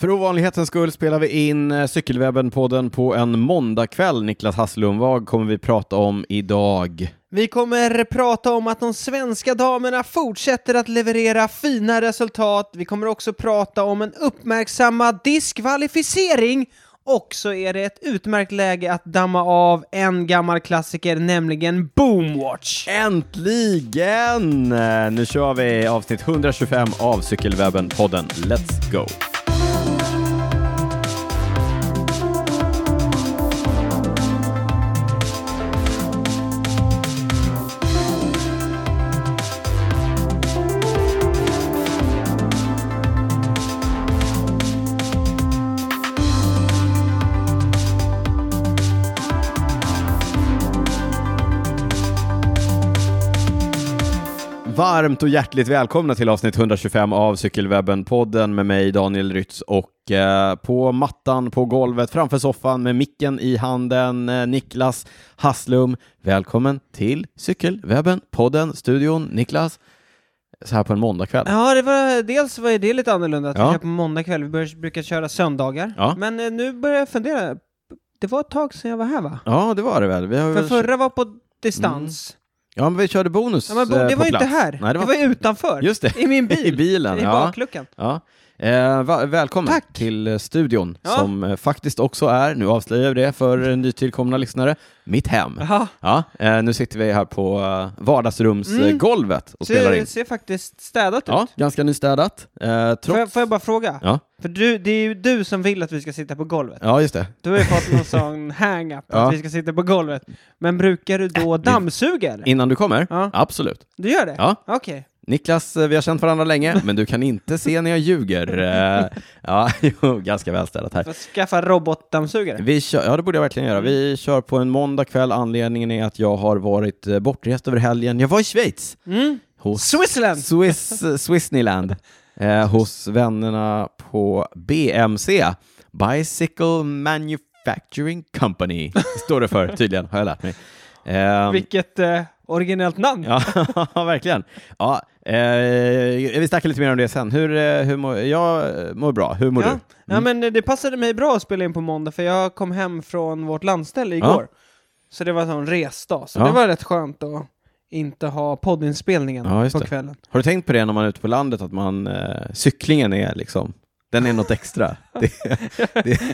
För ovanlighetens skull spelar vi in eh, Cykelwebben-podden på en måndagkväll. Niklas Hasslum, vad kommer vi prata om idag? Vi kommer prata om att de svenska damerna fortsätter att leverera fina resultat. Vi kommer också prata om en uppmärksammad diskvalificering och så är det ett utmärkt läge att damma av en gammal klassiker, nämligen Boomwatch. Äntligen! Eh, Nu kör vi avsnitt 125 av Cykelwebben-podden. Let's go! Varmt och hjärtligt välkomna till avsnitt 125 av Cykelwebben-podden med mig Daniel Rytz och eh, på mattan, på golvet, framför soffan med micken i handen, eh, Niklas Hasslum. Välkommen till Cykelwebben-podden, studion, Niklas. Så här på en måndagkväll. Ja, det var, dels var ju det lite annorlunda att Ja. vi kör på måndag kväll. Vi bör, brukar köra söndagar. Ja. Men eh, nu börjar jag fundera. Det var ett tag sedan jag var här va? Ja, det var det väl. Vi, har För väl... förra var på distans. ja, men vi körde bonus Ja, men bo- Mm. eh, det på var ju inte plats. här. Nej, det var... ju utanför. Just det. I min bil. I bilen, I ja. bakluckan. Ja. Eh, va- välkommen Tack. till eh, studion Ja. som eh, faktiskt också är, nu avslöjar jag det för eh, nytillkomna lyssnare, mitt hem. Jaha. Ja, eh, nu sitter vi här på eh, vardagsrumsgolvet och spelar Ser, in. ser faktiskt städat Ja, ut. ganska nystädat. Eh, Får trots... jag, får jag bara fråga? Ja. För du, det är ju du som vill att vi ska sitta på golvet. ja, just det. Du har ju fått någon sån hang-up Ja. att vi ska sitta på golvet. Men brukar du då dammsuga eller? Innan du kommer? Ja. Absolut. Du gör det? Ja. Okej. Niklas, eh, vi har känt varandra länge, men du kan inte se när jag ljuger. Eh, ja, jo, ganska välstädat här. Får skaffa robotdammsugare? Vi kör, ja, det borde jag verkligen göra. Vi kör på en måndag kväll. Anledningen är att jag har varit eh, bortrest över helgen. Jag var i Schweiz. Mm. Hos Switzerland! Swiss, Swissneyland. Eh, hos vännerna på BMC. Bicycle Manufacturing Company. Står det för tydligen, har jag lärt mig. Ehm, Vilket eh, originellt namn. Ja, verkligen. Ja, eh, vi snackar lite mer om det sen. Hur, eh, hur mår, jag mår bra, hur mår ja. du? Mm. ja, men eh, det passade mig bra att spela in på måndag för jag kom hem från vårt landställe igår. Så det var en sån resdag, så Ja. det var rätt skönt att inte ha poddinspelningen Ja, just på det. kvällen. Har du tänkt på det när man är ute på landet, att man, eh, cyklingen är liksom, den är något extra. Det,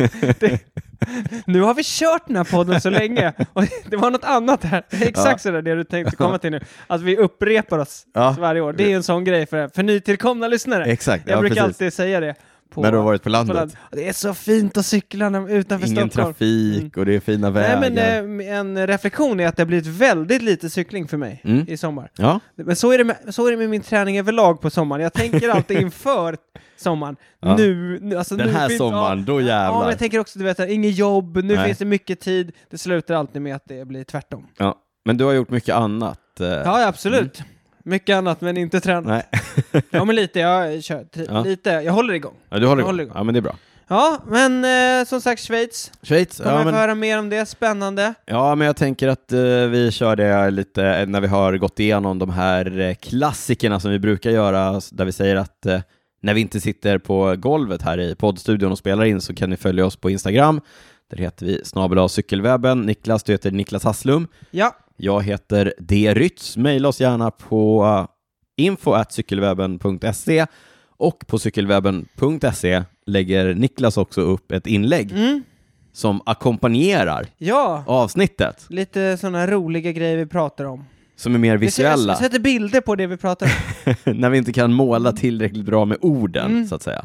Nu har vi kört den här podden så länge och det var något annat här. Det är Exakt sådär det du tänkte komma till nu. Att vi upprepar oss Ja. varje år. Det är en sån grej för, för nytillkomna lyssnare. exakt, jag Eh, ja, brukar precis. alltid säga det. På, När du har varit på på landet. land. Det är så fint att cykla när- utanför Ingen Stockholm. trafik och det är fina Mm. Nej, vägar. men eh, en reflektion är att det har blivit väldigt lite cykling för mig Mm. i sommar. Ja, Men så är, det med, så är det med min träning överlag på sommaren. Jag tänker alltid inför sommaren. Ja. Nu, nu, alltså den nu här finns- sommaren, Ja, då ja, men jävlar. jag tänker också, du vet, här, inget jobb, nu Nej. Äh. finns det mycket tid. Det slutar alltid med att det blir tvärtom. Ja, men du har gjort mycket annat. eh, Ja, ja, absolut. Mycket annat, men inte träning. Nej. Ja, men lite. Jag kör t- Ja. lite. Jag håller igång. Ja, du håller igång. håller igång. Ja, men det är bra. Ja, men eh, som sagt, Schweiz. Schweiz? Kommer Ja få men, höra mer om det. Spännande. ja, men jag tänker att eh, vi kör det lite eh, när vi har gått igenom de här eh, klassikerna som vi brukar göra, s- där vi säger att eh, när vi inte sitter på golvet här i poddstudion och spelar in så kan ni följa oss på Instagram. Där heter vi snabel cykelwebben. Niklas, du heter Niklas Hasslum. Ja, Jag heter D. Rytz. Mejla oss gärna på uh, info.cykelwebben.se och på cykelwebben.se lägger Niklas också upp ett inlägg Mm. som ackompanjerar ja. avsnittet, Lite sådana roliga grejer vi pratar om. som är mer Vi ser- visuella, Jag sätter bilder på det Mm. vi pratar om. när vi inte kan måla tillräckligt bra med orden, Mm. så att säga.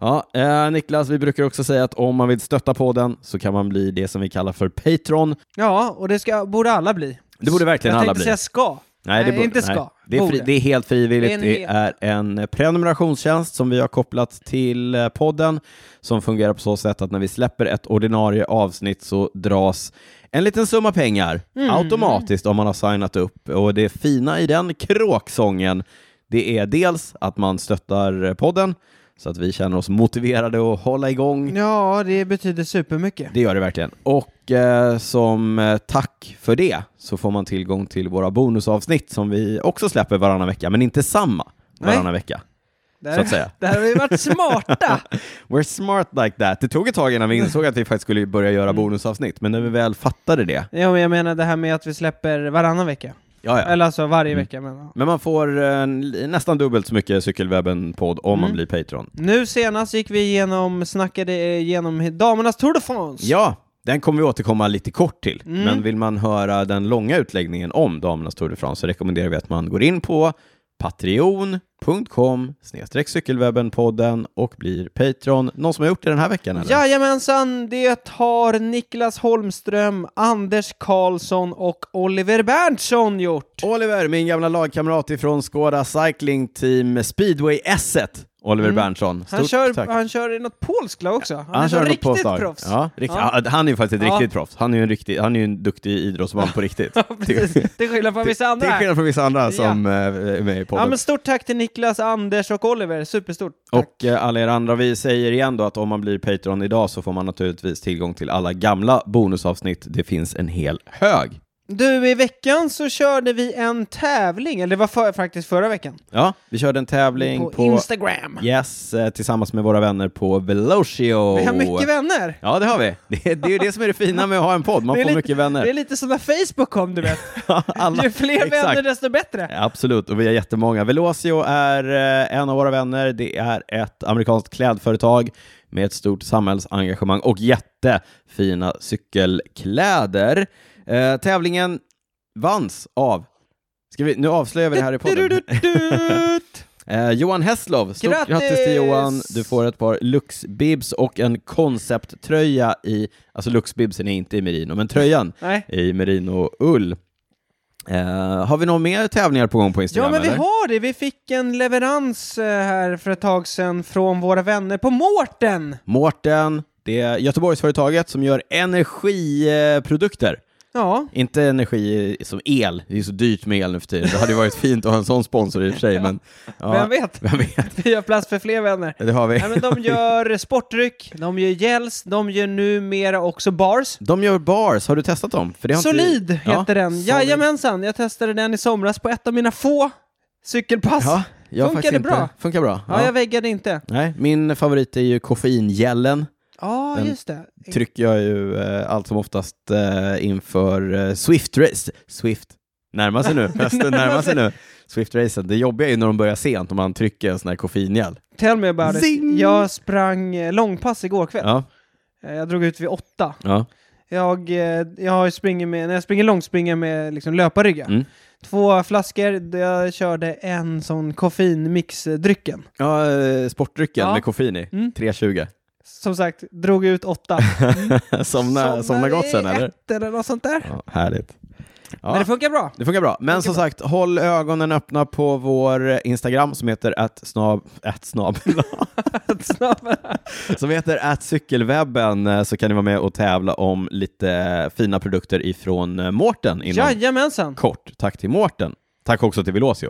Ja, eh, Niklas, vi brukar också säga att om man vill stötta podden så kan man bli det som vi kallar för Patreon. Ja, och det ska, borde alla bli. Det borde verkligen jag alla tänkte bli. säga ska. borde- inte ska. Det, är fri, Borde. det är helt frivilligt. Det är en Det är en prenumerationstjänst som vi har kopplat till eh, podden som fungerar på så sätt att när vi släpper ett ordinarie avsnitt så dras en liten summa pengar Mm. automatiskt om man har signat upp. Och det fina i den kråksången det är dels att man stöttar eh, podden så att vi känner oss motiverade att hålla igång Ja, det betyder supermycket. det gör det verkligen. Och eh, som eh, tack för det så får man tillgång till våra bonusavsnitt som vi också släpper varannan vecka, men inte samma varannan vecka. Där, så att säga. Där har vi varit smarta. We're smart like that. Det tog ett tag innan vi insåg att vi faktiskt skulle börja göra bonusavsnitt, men när vi väl fattade det, ja, men jag menar det här med att vi släpper varannan vecka. ja, ja. Eller alltså varje Mm. vecka. Men, ja. Men man får eh, nästan dubbelt så mycket Cykelwebben-podd om man blir Patreon. Nu senast gick vi igenom, snackade eh, igenom damernas Tour de France. Ja, den kommer vi återkomma lite kort till. Mm. Men vill man höra den långa utläggningen om damernas Tour de France så rekommenderar vi att man går in på patreon.com cykelwebbenpodden och blir Patreon. Någon som har gjort det den här veckan eller? Jajamensan, det har Niklas Holmström, Anders Karlsson och Oliver Berntsson gjort. Oliver, min gamla lagkamrat ifrån Skåda Cycling Team Speedway S. Oliver Berntsson. Mm. Han Stort kör, tack. han kör i något polskt lag också. Han, är Han så kör något riktigt påslag. proffs. Ja, rikt- Ja. ja, Han är ju faktiskt ett Ja. riktigt proffs. Han är ju en, riktig, han är ju en duktig idrottsman på riktigt. Precis, till skillnad från vissa andra. Till skillnad från vissa andra Ja. som eh, är med i Ja, podden. men stort tack till Niklas, Anders och Oliver. Superstort. tack. Och eh, alla er andra, vi säger igen då att om man blir Patreon idag så får man naturligtvis tillgång till alla gamla bonusavsnitt. Det finns en hel hög. Du, i veckan så körde vi en tävling, eller det var för, faktiskt förra veckan. Ja, vi körde en tävling På, på, Instagram. Yes, eh, tillsammans med våra vänner på Velocio. Vi har mycket vänner. Ja, det har vi. Det, är- det är ju det som är det fina med att ha en podd, man Det får är lite- mycket Det är vänner. lite som när Facebook kom, du vet. Alla- Ju fler Exakt. vänner desto bättre. Absolut, och vi är jättemånga. Velocio är eh, en av våra vänner. Det är ett amerikanskt klädföretag med ett stort samhällsengagemang och jättefina cykelkläder. Eh, tävlingen vanns av Ska vi, nu avslöjar vi det här i podden. Du-du-du-dut. Eh, Johan Hesslov, stort Grattis! grattis! till Johan! Du får ett par Lux-bibs och en koncepttröja i, alltså Lux-bibsen är inte i merino, men tröjan Nej. i merino-ull. Eh, har vi några mer tävlingar på gång på Instagram? Ja, men vi eller? har det. Vi fick en leverans eh, här för ett tag sedan från våra vänner på Mårten. Mårten, det är Göteborgsföretaget som gör energiprodukter. Ja, Inte energi som el, det är ju så dyrt med el nu för tiden. Det hade ju varit fint att ha en sån sponsor i och för sig, men ja, vem vet? vem vet? Vi har plats för fler vänner. Det har vi. Nej, men de gör sportdryck, de gör gels, de gör numera också bars. De gör bars, har du testat dem? För det har inte vi- Solid Ja, heter den. Solid. Jajamensan, jag testade den i somras på ett av mina få cykelpass. Ja, Ja, jag har Funkar faktiskt det inte- bra? Funkar bra. jag väggade inte. Nej, min favorit är ju koffeingelen. Ja, Den just det. Trycker jag ju eh, allt som oftast eh, inför eh, Swift-race. Swift. Närmar sig nu. Hösten närmar sig nu. Swift-racen. Det jobbiga är ju när de börjar sent och man trycker en sån här koffeingel. Tell me about it. Zing! Jag sprang eh, långpass igår kväll. Ja, Eh, Jag drog ut vid åtta. ja. Jag, eh, jag har ju springer med, när jag springer långt springer jag med liksom löparrygga. Mm. Två flaskor, jag körde en sån koffeinmixdrycken. ja eh, sportdrycken Ja. med koffein i. Mm. 3.20. Som sagt, drog ut åtta. somna, somna gott sen i eller? ett eller något sånt där. Ja, härligt. Ja. Men det funkar bra. Det funkar bra. Men Funkar som bra. sagt, håll ögonen öppna på vår Instagram som heter att snab... Att snab... som heter att cykelwebben eh, så kan ni vara med och tävla om lite eh, fina produkter ifrån eh, Mårten inom Jajamensan. kort. Tack till Mårten. Tack också till Velocio.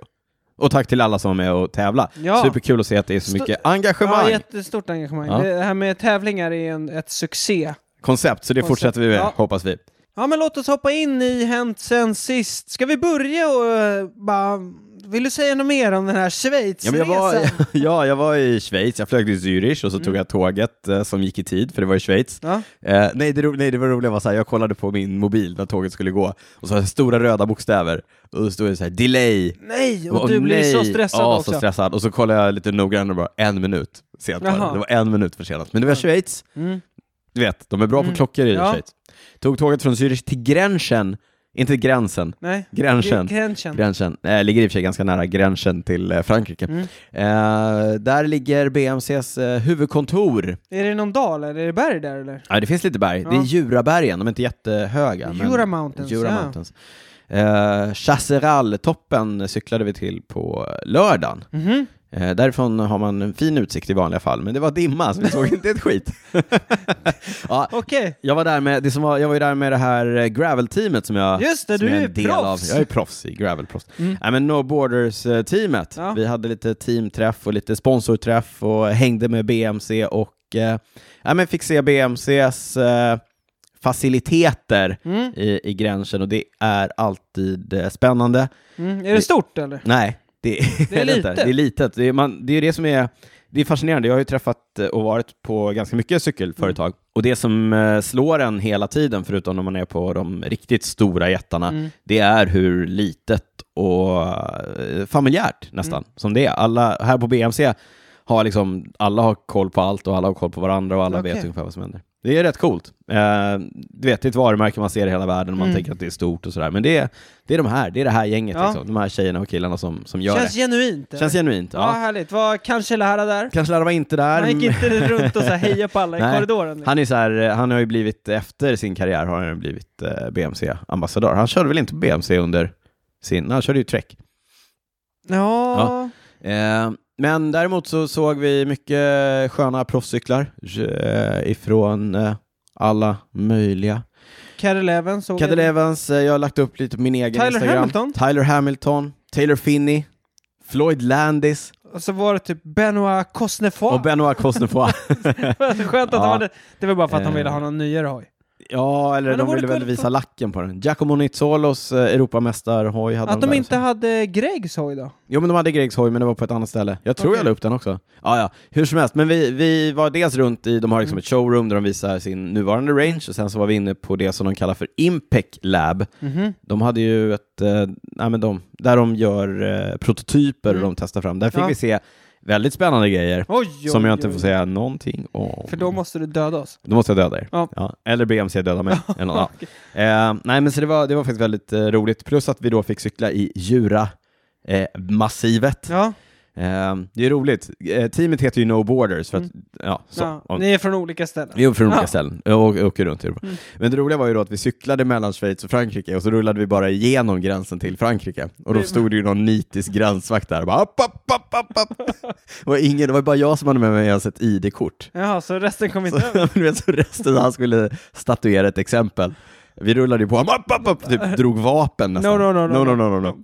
Och tack till alla som var med och tävla. Ja. Superkul att se att det är så Sto- mycket Ja, engagemang. jättestort engagemang. Ja. Det här med tävlingar är en, ett succé. Koncept, så det Koncept. fortsätter vi med, Ja. hoppas vi. Ja, men låt oss hoppa in i Hänt sen sist. Ska vi börja och eh, bara... Vill du säga något mer om den här Ja, Schweizresan? men jag, var, ja, jag var i Schweiz, jag flög till Zürich och så Mm. tog jag tåget eh, som gick i tid, för det var i Schweiz. Ja. Eh, nej, det ro- nej, det var roliga var så här, jag kollade på min mobil när tåget skulle gå och så var det stora röda bokstäver och då stod det så här delay. Nej, och Åh, du blir nej. så stressad ja, också. Så stressad. Och så kollade jag lite noggrannare och bara en minut sent var det. Jaha. det var en minut försenat. Men det var Schweiz, Mm. du vet, de är bra på klockor i Ja. Schweiz. Tog tåget från Zürich till gränsen, inte gränsen, Nej. gränsen. Gränsen. Gränsen, eh, ligger i och för sig ganska nära gränsen till eh, Frankrike. Mm. Eh, där ligger BMCs eh, huvudkontor. Är det någon dal eller är det berg där eller? Ja, det finns lite berg. Det Ja. är Jurabergen, de är inte jättehöga. men- Jura Mountains, Jura ja. Mountains. Eh, Chasseral-toppen cyklade vi till på lördagen. Mhm. Eh, därifrån har man en fin utsikt i vanliga fall, men det var dimma så vi såg inte ett skit. ja, Okej. jag var, där med, det som var, jag var ju där med det här eh, gravel-teamet som jag Just det, som du jag är en del proffs. Mm. Av. Jag är proffs i gravelproffs. Nej men No Borders-teamet. Ja. Vi hade lite teamträff och lite sponsorträff och hängde med BMC och eh, ja, men fick se BMCs eh, faciliteter Mm. i, i gränsen och det är alltid eh, spännande. Mm. Är det stort eller? Nej, Det är, Det är det inte. litet. Det är litet. Det är, man, det är det som är, det är fascinerande. Jag har ju träffat eh, och varit på ganska mycket cykelföretag Mm. och det som eh, slår en hela tiden, förutom när man är på de riktigt stora jättarna, Mm. det är hur litet och eh, familjärt nästan Mm. som det är. Alla här på BMC har liksom, alla har koll på allt och alla har koll på varandra och alla Okej. vet ungefär vad som händer. Det är rätt coolt. Eh, du vet, det är ett varumärke man ser i hela världen och Mm. man tänker att det är stort och sådär. Men det är, det är de här, det är det här gänget, Ja. liksom. de här tjejerna och killarna som, som gör Känns det. genuint. eller? Känns genuint. Ja, Ja. härligt. Vad kanske Lahara där? Kanske Lara var inte där. Han gick inte runt och så här hejade på alla i Nej. korridoren. Han, är så här, eh, han har ju blivit, efter sin karriär har han ju blivit eh, BMC-ambassadör. Han körde väl inte BMC under sin, han körde ju Trek. Ja. Ja. Eh, men däremot så såg vi mycket sköna proffscyklar eh, ifrån eh, alla möjliga. Karel Evans såg Cadel jag. Evans, eh, jag har lagt upp lite på min egen Tyler Instagram. Hamilton. Tyler Hamilton, Taylor Finney, Floyd Landis Och så var det typ Benoit Cosnefroid. och Benoit Cosnefoy. Skönt att Ja. han hade... Det var bara för att han Eh. ville ha någon nyare hoj. ja, eller Men de det ville vore väl kul visa för- lacken på den. Giacomo Nizzolos eh, Europamästarhoj hade Att de där inte också. hade Gregs hoj då? Jo, men de hade Gregs hoj, men det var på ett annat ställe. Jag tror Okej. jag la upp den också. Ja, ja, hur som helst. Men vi, vi var dels runt i, de har Mm. liksom ett showroom där de visar sin nuvarande range och sen så var vi inne på det som de kallar för Impec Lab. Mhm. De hade ju ett, eh, nej men de, där de gör eh, prototyper Mm. och de testar fram. Där fick Ja. vi se väldigt spännande grejer Oj, oj, som jag inte oj. får säga någonting om. För då måste du döda oss. Då måste jag döda er. Ja. Ja. Eller BMC döda mig. Eller något. ja. eh, nej men så det var, det var faktiskt väldigt eh, roligt. Plus att vi då fick cykla i Jura eh, massivet. Ja, Eh, det är roligt. Eh, teamet heter ju No Borders för att, ja, så. Mm. ja. Om- Ni är från olika ställen. Jo, från olika Ja. Mm. ställen. Jag å- åker runt i Europa. Men det roliga var ju då att vi cyklade mellan Schweiz och Frankrike och så rullade vi bara igenom gränsen till Frankrike. Och då Men- stod det ju någon nitisk gränsvakt där och bara app, app, app, app, app. Och ingen, det var bara jag som hade med mig ens ett ID-kort. Jaha, så resten kom inte över? Så, du vet, så resten, han skulle statuera ett exempel. Vi rullade ju på honom, app, app, app, typ drog vapen nästan. No, no, no, no, no, no, no, no.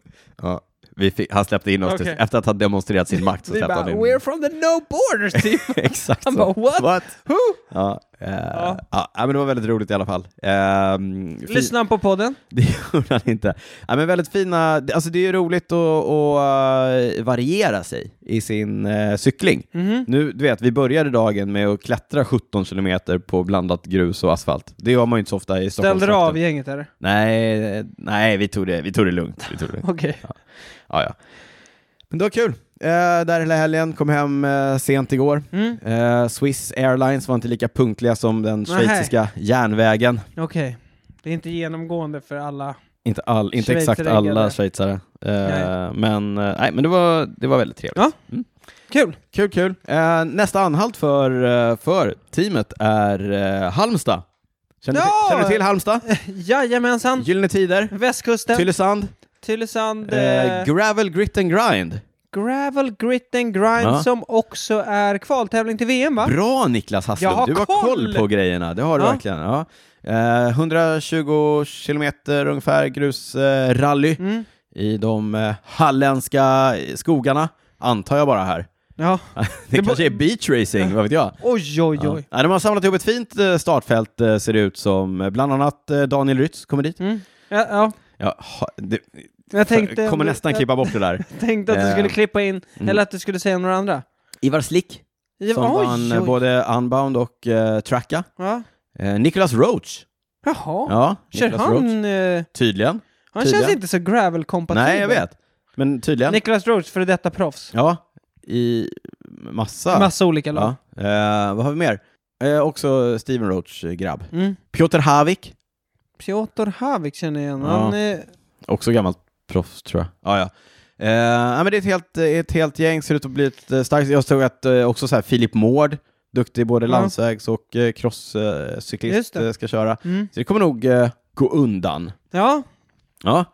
Ja, vi fick, han släppte in oss, till, Okej. efter att ha demonstrerat sin makt så Vi släppte bara, han in we're from the no borders team! Exakt Han så. bara, "What?" Who? Ja, eh, ja. Ja. ja, men det var väldigt roligt i alla fall. Ehm, fin- Lyssna på podden. Det gjorde han inte. Ja, men väldigt fina, det- alltså det är ju roligt att, att eh, variera sig i sin eh, cykling. Mhm. Nu, du vet, vi började dagen med att klättra 17 kilometer på blandat grus och asfalt. Det gör man ju inte så ofta i Stockholm. Ställde du av gänget eller? Nej, nej vi, tog det, vi tog det lugnt. Vi tog det lugnt. Okej. Ja, ja. Men det var kul. Eh, där hela helgen, kom hem eh, sent igår. Mm. Eh, Swiss Airlines var inte lika punktliga som den Nej. schweiziska järnvägen. Okej. Det är inte genomgående för alla. Inte, all, inte exakt Schweizerägg, alla eller? schweizare. Eh, Nej. men eh, nej, men det, var, det var väldigt trevligt. Ja. Mm. Kul! Kul, kul. Eh, nästa anhalt för, eh, för teamet är eh, Halmstad. Känner, Ja! du, känner du till Halmstad? Jajamensan! Gyllene Tider, Västkusten, Tylösand, Tylösand, eh, eh, Gravel, Grit and Grind. Gravel Grit and Grind Ja. som också är kvaltävling till VM va? Bra Niklas Hasslund, Jag har du har koll. koll på grejerna. Det har du Ja. verkligen. Ja. Eh, 120 kilometer ungefär grusrally eh, rally Mm. i de eh, halländska skogarna, antar jag bara här. Ja. Det, Det kanske är beach racing, vad vet jag? Oj, oj, Ja. oj. Ja, de har samlat ihop ett fint eh, startfält eh, ser det ut som. Eh, Bland annat eh, Daniel Rytz kommer dit. Mm. Ja, ja. Ja, ha- det, Jag tänkte, kommer nästan klippa bort det där. Jag tänkte att du Eh, skulle klippa in, mm. eller att du skulle säga några andra. Ivar Slick, Ja, som oj, vann eh, oj. både Unbound och eh, Tracka. Ja. Eh, Nicholas Roach. Jaha. Ja, Kör Nicholas Roach. han... eh, Tydligen. han Tydligen. känns inte så gravel-kompatibel. Nej, jag vet. Men tydligen. Nicholas Roach, före detta proffs. Ja, i massa. Massa olika lag. ja. eh, vad har vi mer? Eh, också Steven Roach eh, grabb. Mm. Piotr Havik, Piotr Havik känner jag igen. Ja. Han, eh, också gammalt proffs tror jag. Ja, ja. Eh, nej, men det är ett helt, eh, ett helt gäng, ser ut att bli ett eh, starkt... Jag såg att eh, också så här, Filip Mård, duktig både Ja. landsvägs och eh, Just crosscyklist, det. eh, ska köra. mm. Så det kommer nog eh, gå undan. ja. Ja.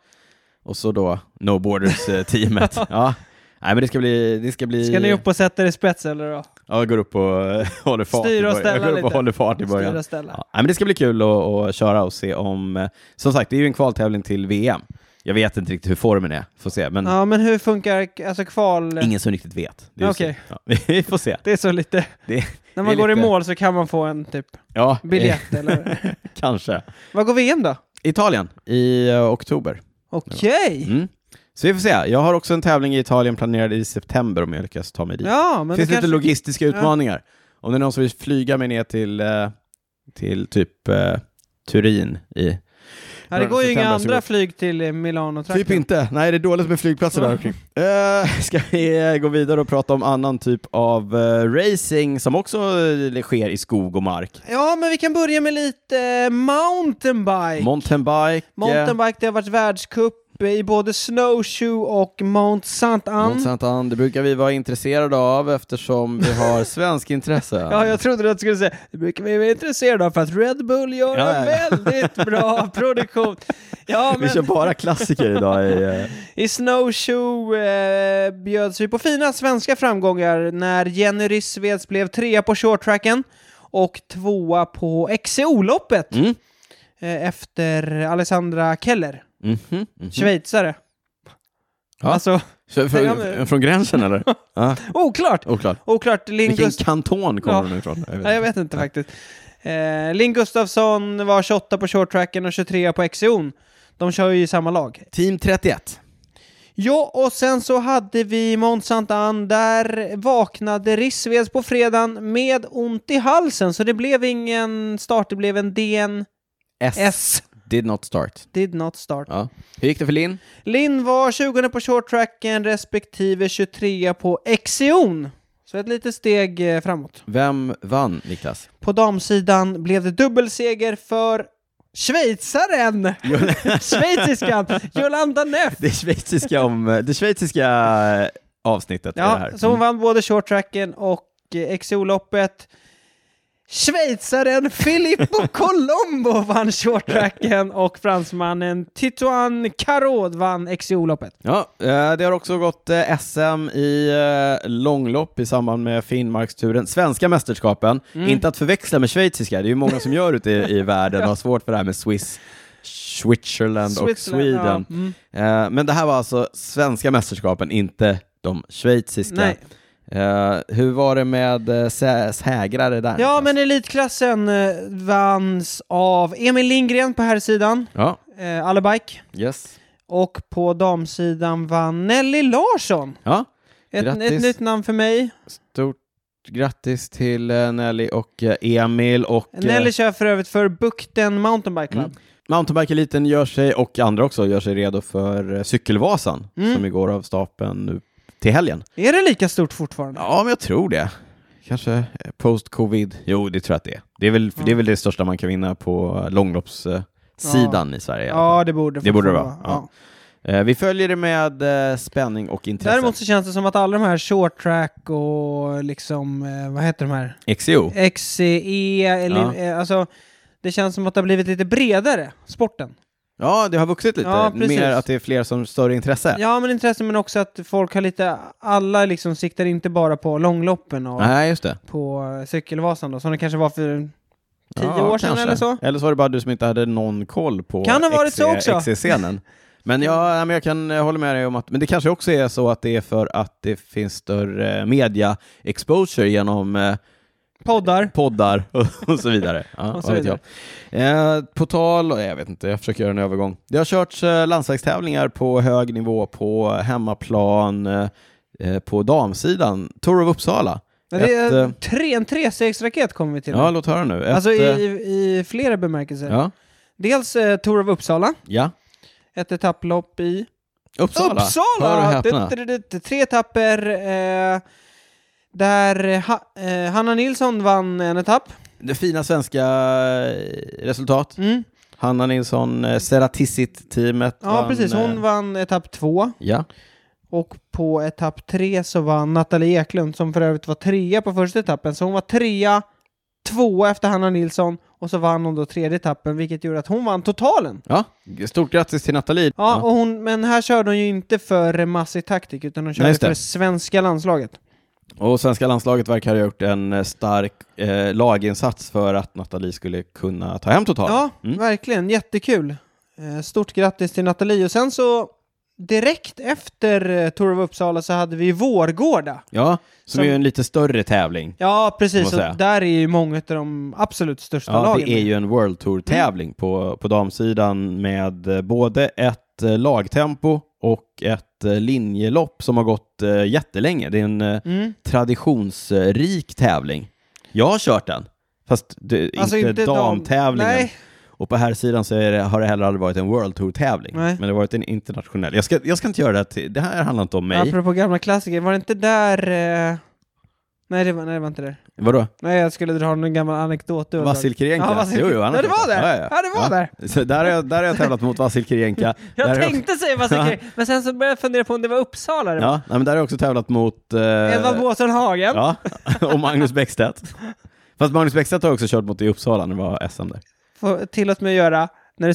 Och så då No Borders-teamet. ja. Nej, men det ska bli... Det ska bli... Ska ni upp och sätta er i spets eller då? Ja, jag går upp och eh, håller fart Styr i och början. ställa jag går upp och lite. håller fart i början. Styra och ställa. Ja, nej, men det ska bli kul att, att köra och se om... eh, Som sagt, det är ju en kvaltävling till VM. Jag vet inte riktigt hur formen är, får se. Men Ja, men hur funkar alltså kval? ingen som riktigt vet. Det är ju så. Okej. Ja, vi får se. Det är så lite... Det, När det man är går i lite- mål så kan man få en typ Ja, eh, biljett eller... kanske. Vad går VM då? Italien i eh, oktober. Okej! Mm. Så vi får se. Jag har också en tävling i Italien planerad i september om jag lyckas ta mig dit. Ja, men det finns det lite kanske... logistiska utmaningar. Om det är någon som vill flyga mig ner till, eh, till typ eh, Turin i... ja, det går ju inga september, så andra går- flyg till eh, Milano Typ inte. Nej, det är dåligt med flygplatser där omkring. Eh, Ska vi eh, gå vidare och prata om annan typ av eh, racing som också eh, sker i skog och mark? Ja, men vi kan börja med lite eh, mountainbike. Mountainbike. eh, mountainbike, det har varit världscup eh, i både snowshoe och Mount Saint Mont Anne. Saint Anne, det brukar vi vara intresserade av eftersom vi har svensk intresse. Ja, jag trodde att du skulle säga det brukar vi vara intresserade av för att Red Bull gör Ja, en ja, ja. väldigt bra produktion. Ja, Vi kör men bara klassiker idag. I, eh, i snowshoe eh, bjöds vi på fina svenska framgångar när Jenny Rissveds blev trea på shorttracken och tvåa på XCO-loppet Mm. eh, efter Alessandra Keller, Mhm, mhm. schweizare. Ja. Alltså, Så, från, från gränsen eller? Ja, oklart! oklart. Oklart, Linn Vilken Gust- kanton kommer Ja. hon ifrån? Jag vet Nej, jag inte. vet inte faktiskt. Eh, Linn Gustafsson var 28 på shorttracken och 23 på XCO'n. De kör ju i samma lag. Team 31. Ja, och sen så hade vi Mont Saint Anne. Där vaknade Rissveds på fredagen med ont i halsen, så det blev ingen start. Det blev en DNS. S. Did not start. Did not start. Ja. Hur gick det för Linn? Linn var 20 på shorttracken respektive 23 på XCO'n. Så ett litet steg eh, framåt. Vem vann, Niklas? På damsidan blev det dubbelseger för schweizaren! Schweiziskan! Jolanda Neff! Det schweiziska, om, det schweiziska eh, avsnittet är det Ja, här. Mm. så hon vann både shorttracken och eh, XO-loppet. Schweizaren Filippo Colombo vann shorttracken och fransmannen Titoan Carod vann XO-loppet. Ja, eh, det har också gått eh, SM i eh, långlopp i samband med Finnmarksturen, svenska mästerskapen. Mm. Inte att förväxla med schweiziska, det är ju många som gör ute i, i världen och har svårt för det här med Swiss, Switzerland och Switzerland, ja. Sweden. Mm. Eh, Men det här var alltså svenska mästerskapen, inte de schweiziska. Nej. Eh, Hur var det med eh, sä- sägrare där? Ja, Niklas? men elitklassen eh, vanns av Emil Lindgren på här sidan, Ja, eh, Allebike. yes. Och på damsidan vann Nelly Larsson. Ja, Ett, Grattis. ett nytt namn för mig. stort grattis till eh, Nelly och eh, Emil och... eh, Nelly kör för övrigt för Bukten Mountainbike Club. Mountainbike-eliten gör sig, och andra också, gör sig redo för eh, Cykelvasan Mm. som ju går av stapeln nu till helgen. Är det lika stort fortfarande? Mm. Ja, men jag tror det. Kanske eh, post-covid. Jo, det tror jag att det är. Det är väl, för det, är väl det största man kan vinna på eh, långloppssidan i Sverige. i alla fall. Ja, det borde Det borde det fortfarande vara, ja. Eh, Vi följer det med eh, spänning och intresse. Däremot så känns det som att alla de här short track och liksom, eh, vad heter de här? XCO. XCE, eller, eh, alltså det känns som att det har blivit lite bredare, sporten. Ja, det har vuxit lite. Ja, precis. Mer att det är fler som större intresse. Ja, men intresse men också att folk har lite, alla liksom siktar inte bara på långloppen och Nej, just det. på eh, cykelvasan då, som det kanske var för tio Ja, år sedan kanske. eller så. Eller så var det bara du som inte hade någon koll på Kan ha varit så också. XC-scenen. Men, ja, nej, men jag kan eh, hålla med dig om att, men det kanske också är så att det är för att det finns större eh, media-exposure genom eh, Poddar. poddar och, och så vidare. Ja, Och så vad vet jag. Eh, på tal, jag vet inte, jag försöker göra en övergång. Det har körts eh, landsvägstävlingar på hög nivå på hemmaplan eh, eh, på damsidan. Tour of Uppsala. Men Det Ett, är eh, tre, en trestegsraket kommer vi till. ja, låt höra nu. Ett, alltså i, eh, i, i flera bemärkelser. ja, Dels eh, Tour of Uppsala, ja. ett etapplopp i Uppsala. Hör och häpna. Du- du- du- du- Tre etapper eh, där ha, eh, Hanna Nilsson vann en etapp. Det fina svenska eh, resultat. Mm. Hanna Nilsson, eh, Ceratissit-teamet. Ja, precis. Hon eh, vann etapp två. Ja, Och på etapp tre så vann Nathalie Eklund, som för övrigt var trea på första etappen. Så hon var trea, tvåa efter Hanna Nilsson och så vann hon då tredje etappen, vilket gjorde att hon vann totalen. ja. Stort grattis till Nathalie. Ja, Och hon, men här körde hon ju inte för Massi Taktik, utan hon körde just det. för svenska landslaget. Och svenska landslaget verkar ha gjort en eh, stark eh, laginsats för att Nathalie skulle kunna ta hem totalen. Ja, Mm. verkligen. Jättekul. Eh, Stort grattis till Nathalie. Och sen så direkt efter eh, Tour of Uppsala så hade vi Vårgårda. Ja, som, Som- är ju en lite större tävling. Ja, precis. Måste Och säga. där är ju många av de absolut största Ja, lagen. det är ju en World Mm. Tour-tävling på, på damsidan med eh, både ett eh, lagtempo och ett ett eh, linjelopp som har gått eh, jättelänge. Det är en eh, Mm. traditionsrik tävling. Jag har kört den, fast det, Alltså, inte, inte dam- damtävlingen. Nej. Och på här sidan så är det, har det heller aldrig varit en World Tour-tävling, Nej. men det har varit en internationell. Jag ska, jag ska inte göra det här till, det här handlar inte om mig. Apropå gamla klassiker, var det inte där... Eh... Nej, det var, nej, det var inte där. Vadå? Nej, jag skulle dra någon gammal anekdot. du har Vasil dragit. Kirienka? Ja, Vasil... Jo, jo, han har ja, det var kört där! den. Ja, Ja, ja, det var ja. där! Så där, har jag, där har jag tävlat mot Vasil Kirienka. Jag där har tänkte säga Vasil Kirienka, men sen så började jag fundera på om det var Uppsala det Jag, ja, nej, men där har jag också tävlat mot... eh, var. Edvard Båsen Hagen. Ja, och Magnus Bäckstedt. Fast Magnus Bäckstedt har också kört mot i Uppsala när det var SM där. Får- Tillåt mig att göra när du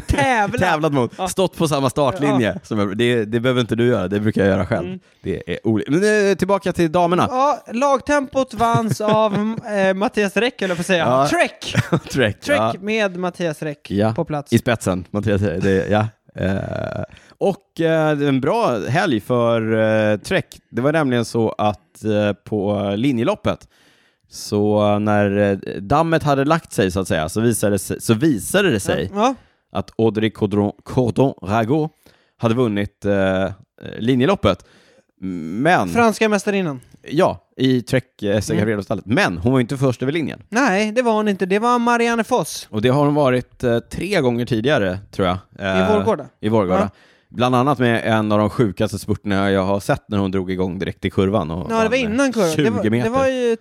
tävla. Tävlat mot, Ja. stått på samma startlinje. Som jag, det, det behöver inte du göra, det brukar jag göra själv. Det är olika. Men eh, tillbaka till damerna. Mm. Ja, lagtempot vanns av eh, Mattias Räck, eller på att säga. Ja. Trek! Trek. Trek Ja. med Mattias Räck Ja. på plats. I spetsen, Mattias. Det, ja. Eh, och eh, det är en bra helg för eh, Trek. Det var nämligen så att eh, på linjeloppet, så när eh, dammet hade lagt sig så att säga, så visade det sig, så visade det sig Ja. att Audrey Cordon, Cordon Rago hade vunnit eh, linjeloppet. Men, Franska mästarinnan. ja, i Trek eh, Mm. Segafredo-stallet. Men hon var ju inte först över linjen. Nej, det var hon inte. Det var Marianne Foss. Och det har hon varit eh, tre gånger tidigare, tror jag. I Eh, Vårgårda? I Vårgårda. Ja. Bland annat med en av de sjukaste spurterna jag har sett när hon drog igång direkt i kurvan. Och Ja, det vann, var eh, innan kurvan. 20 det, var, meter. det var ju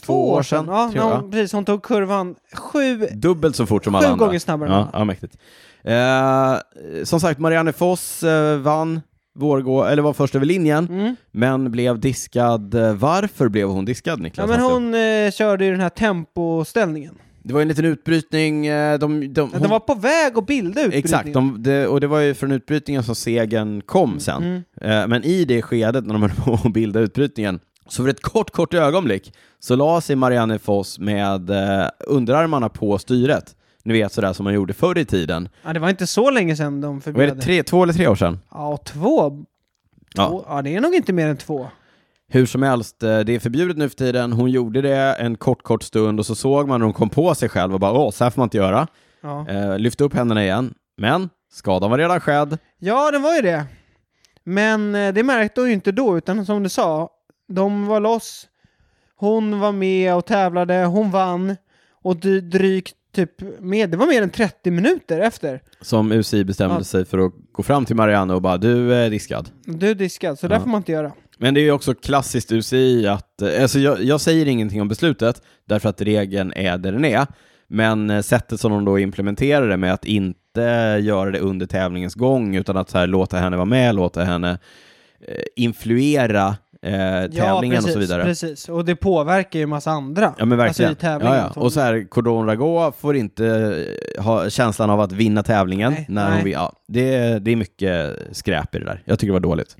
två, år sedan. Ja, tror när jag. hon, precis. Hon tog kurvan sju... Dubbelt så fort som alla Sju andra. gånger snabbare än Ja, alla. ja mäktigt. Eh, som sagt, Marianne Foss eh, vann Vårgå, eller var först över linjen, Mm. men blev diskad. Eh, Varför blev hon diskad, Niklas? Ja, men Hasslund? hon eh, körde ju den här tempoställningen. Det var ju en liten utbrytning. eh, De, de, Hon... hon- Den var på väg att bilda utbrytningen. Exakt, de, det- och det var ju från utbrytningen som segern kom sen. Mm. Eh, Men i det skedet när de höll på att bilda utbrytningen, så för ett kort, kort ögonblick så la sig Marianne Foss med eh, underarmarna på styret. Ni vet sådär som man gjorde förr i tiden. Ja, det var inte så länge sedan de Var det förbjöd tre, två eller tre år sedan? Ja, två. Ja. Ja. ja, det är nog inte mer än två. Hur som helst, eh, det är förbjudet nu för tiden. Hon gjorde det en kort, kort stund och så såg man när hon kom på sig själv och bara åh, så här får man inte göra. Ja, Eh, lyfte upp händerna igen. Men skadan var redan skedd. ja det var ju det. Men eh, det märkte hon ju inte då, utan som du sa, de var loss. Hon var med och tävlade, hon vann. Och dy- drygt typ, med, det var mer än 30 minuter efter. Som UCI bestämde Ja. sig för att gå fram till Marianne och bara du är diskad. Du diskad, så där Ja. får man inte göra. Men det är ju också klassiskt UCI att, eh, alltså jag, jag säger ingenting om beslutet därför att regeln är där den är, men eh, sättet som de då implementerar det med att inte göra det under tävlingens gång utan att så här, låta henne vara med, låta henne eh, influera eh, tävlingen och så vidare. precis. Och det påverkar ju en massa andra. Ja men verkligen. Alltså i tävlingen. ja, ja. Och så här, Cordon Rago får inte eh, ha känslan av att vinna tävlingen. Nej, när Hon nej. vill, ja, det, det är mycket skräp i det där. Jag tycker det var dåligt.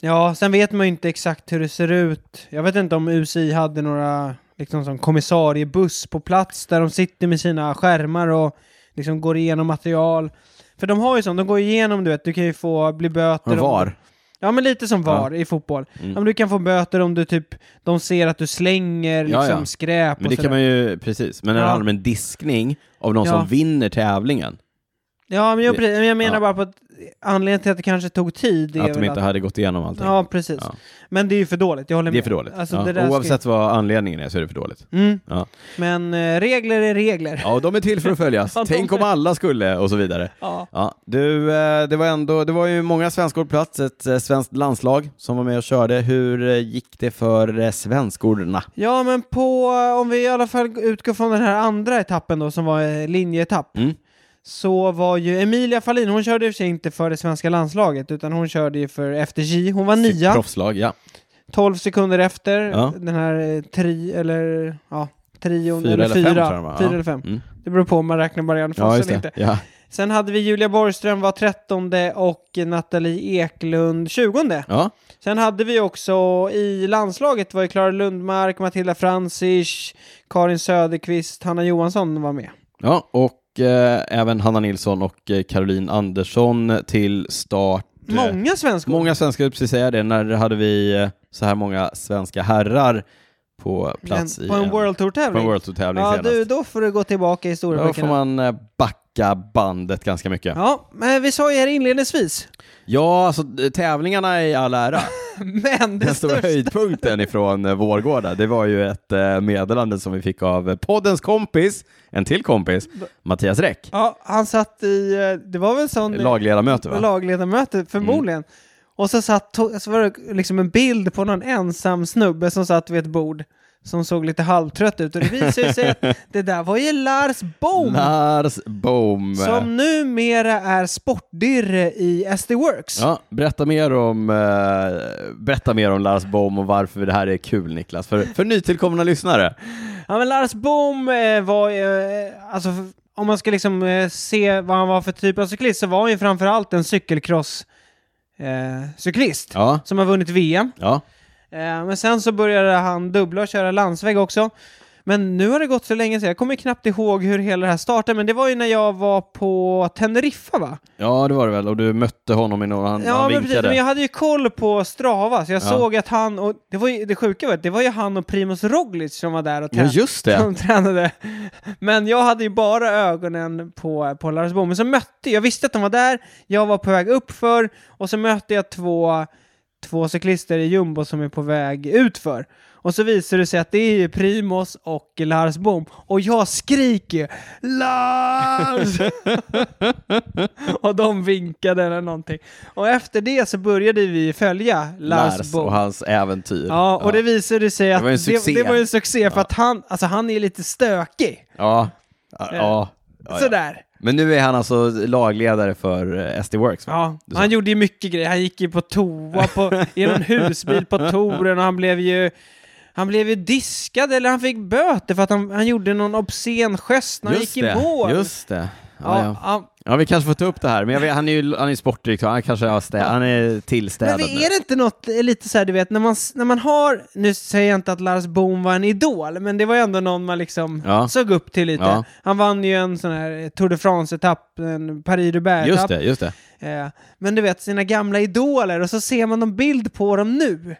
Ja, sen vet man ju inte exakt hur det ser ut. Jag vet inte om UCI hade några liksom, som kommissariebuss på plats där de sitter med sina skärmar och liksom går igenom material. För de har ju sånt, de går igenom, du vet, du kan ju få bli böter. Har de om- VAR? Mm. Ja, men lite som VAR i fotboll. Ja, men du kan få böter om du typ, de ser att du slänger Ja, liksom ja. skräp Men och det kan sådär. man ju, precis. Men när det Ja. handlar om en diskning av någon Ja. som vinner tävlingen, Ja, men jag, Det- men jag menar ja. bara på att anledningen till att det kanske tog tid är att de väl inte hade gått igenom allting. Ja, precis. Ja. Men det är ju för dåligt, jag håller med. Det är för dåligt. Alltså, ja. det där ska- Oavsett vad anledningen är så är det för dåligt. Mm. Ja. Men eh, regler är regler. Ja, och de är till för att följas. Ja, de Tänk om är- alla skulle och så vidare. Ja. Ja, du, eh, det var ändå, det var ju många svenskor på plats, ett eh, svenskt landslag som var med och körde. Hur eh, gick det för eh, svenskorna? Ja, men på, om vi i alla fall utgår från den här andra etappen då, som var eh, linjeetapp, Mm. så var ju Emilia Fahlin, hon körde i och för sig inte för det svenska landslaget, utan hon körde ju för FDJ. Hon var Sitt nia, Proffslag, ja. 12 sekunder efter Ja. den här eh, tri, eller ja, trion, Fyra eller fem, fyra, tror jag de var. fyra Ja. eller fem. Mm. Det beror på om man räknar Marianne Foss Ja, just eller det. inte. Ja. Sen hade vi Julia Borgström var trettonde och Nathalie Eklund tjugonde. Ja. Sen hade vi också i landslaget var ju Klara Lundmark, Matilda Fransich, Karin Söderqvist, Hanna Johansson var med. ja, och eh, även Hanna Nilsson och eh, Caroline Andersson till start. eh, Många svenskor. Många svenskar, jag vill precis säga det, när hade vi eh, så här många svenska herrar på plats Men i på en World på en Tour-tävling. World Tour-tävling Ja, senast? du, då får du gå tillbaka Då får i historieböckerna. man eh, backa backa bandet ganska mycket. Ja, Ja, men vi sa ju här inledningsvis. alltså d- tävlingarna i all ära. Men det Den stora största... höjdpunkten ifrån eh, Vårgårda, det var ju ett eh, meddelande som vi fick av eh, poddens kompis, en till kompis, Mattias Räck, Ja, han satt i, eh, det var väl sån... lagledamöte va? Mm. lagledamöte förmodligen. Och så, satt, to- så var det liksom en bild på någon ensam snubbe som satt vid ett bord som såg lite halvtrött ut och det visade sig att det där var ju Lars Bohm Lars Bohm. som numera är sportdirre i SD Works. Ja, berätta, mer om, eh, berätta mer om Lars Bohm och varför det här är kul Niklas, för, för nytillkomna lyssnare. Ja men Lars Bohm eh, var eh, alltså f- om man ska liksom eh, se vad han var för typ av cyklist så var han ju framförallt en cykelcross eh, cyklist Ja, som har vunnit VM. ja. Eh, men sen så började han dubbla och köra landsväg också. Men nu har det gått så länge så jag kommer knappt ihåg hur hela det här startade, men det var ju när jag var på Teneriffa va? ja, det var det väl, och du mötte honom i någon, han, Mm, han men vinkade. men jag hade ju koll på Strava, så jag Ja. såg att han, och det var ju det sjuka var att det var ju han och Primoz Roglic som var där och Ja, tränade. just det. Som tränade. Men jag hade ju bara ögonen på, på Lars Bohm. Men så mötte jag, visste att de var där, jag var på väg uppför och så mötte jag två, två cyklister i jumbo som är på väg utför. Och så visar det sig att det är ju Primos och Lars Bohm. Och jag skriker ju, Lars! och de vinkade eller någonting. Och efter det så började vi följa Lars, Lars Bohm. och hans äventyr. Ja, och det visade sig att typ. var en det, succé. det var ju en succé för att han, alltså han är lite stökig. Ja, ja, ja, ja. Eh, Sådär. Men nu är han alltså lagledare för eh, SD Works va? Ja, han gjorde ju mycket grejer. Han gick ju på toa på, i någon husbil på touren och han blev ju han blev ju diskad eller han fick böter för att han, han gjorde någon obscen gest när han gick i det, mål. just det. Ja, ja, ja. ja. ja, vi kanske får ta upp det här, men jag vet, han är ju han är sportdirektör, han kanske har stä- han är Men tillstädad nu. är det inte något eh, lite så här, du vet, när man, s- när man har, nu säger jag inte att Lars Bohm var en idol, men det var ju ändå någon man liksom Ja. såg upp till lite. Ja. Han vann ju en sån här eh, Tour de France-etapp, en Just Paris-Roubaix-etapp. det, just det. Eh, men du vet, sina gamla idoler och så ser man en bild på dem nu.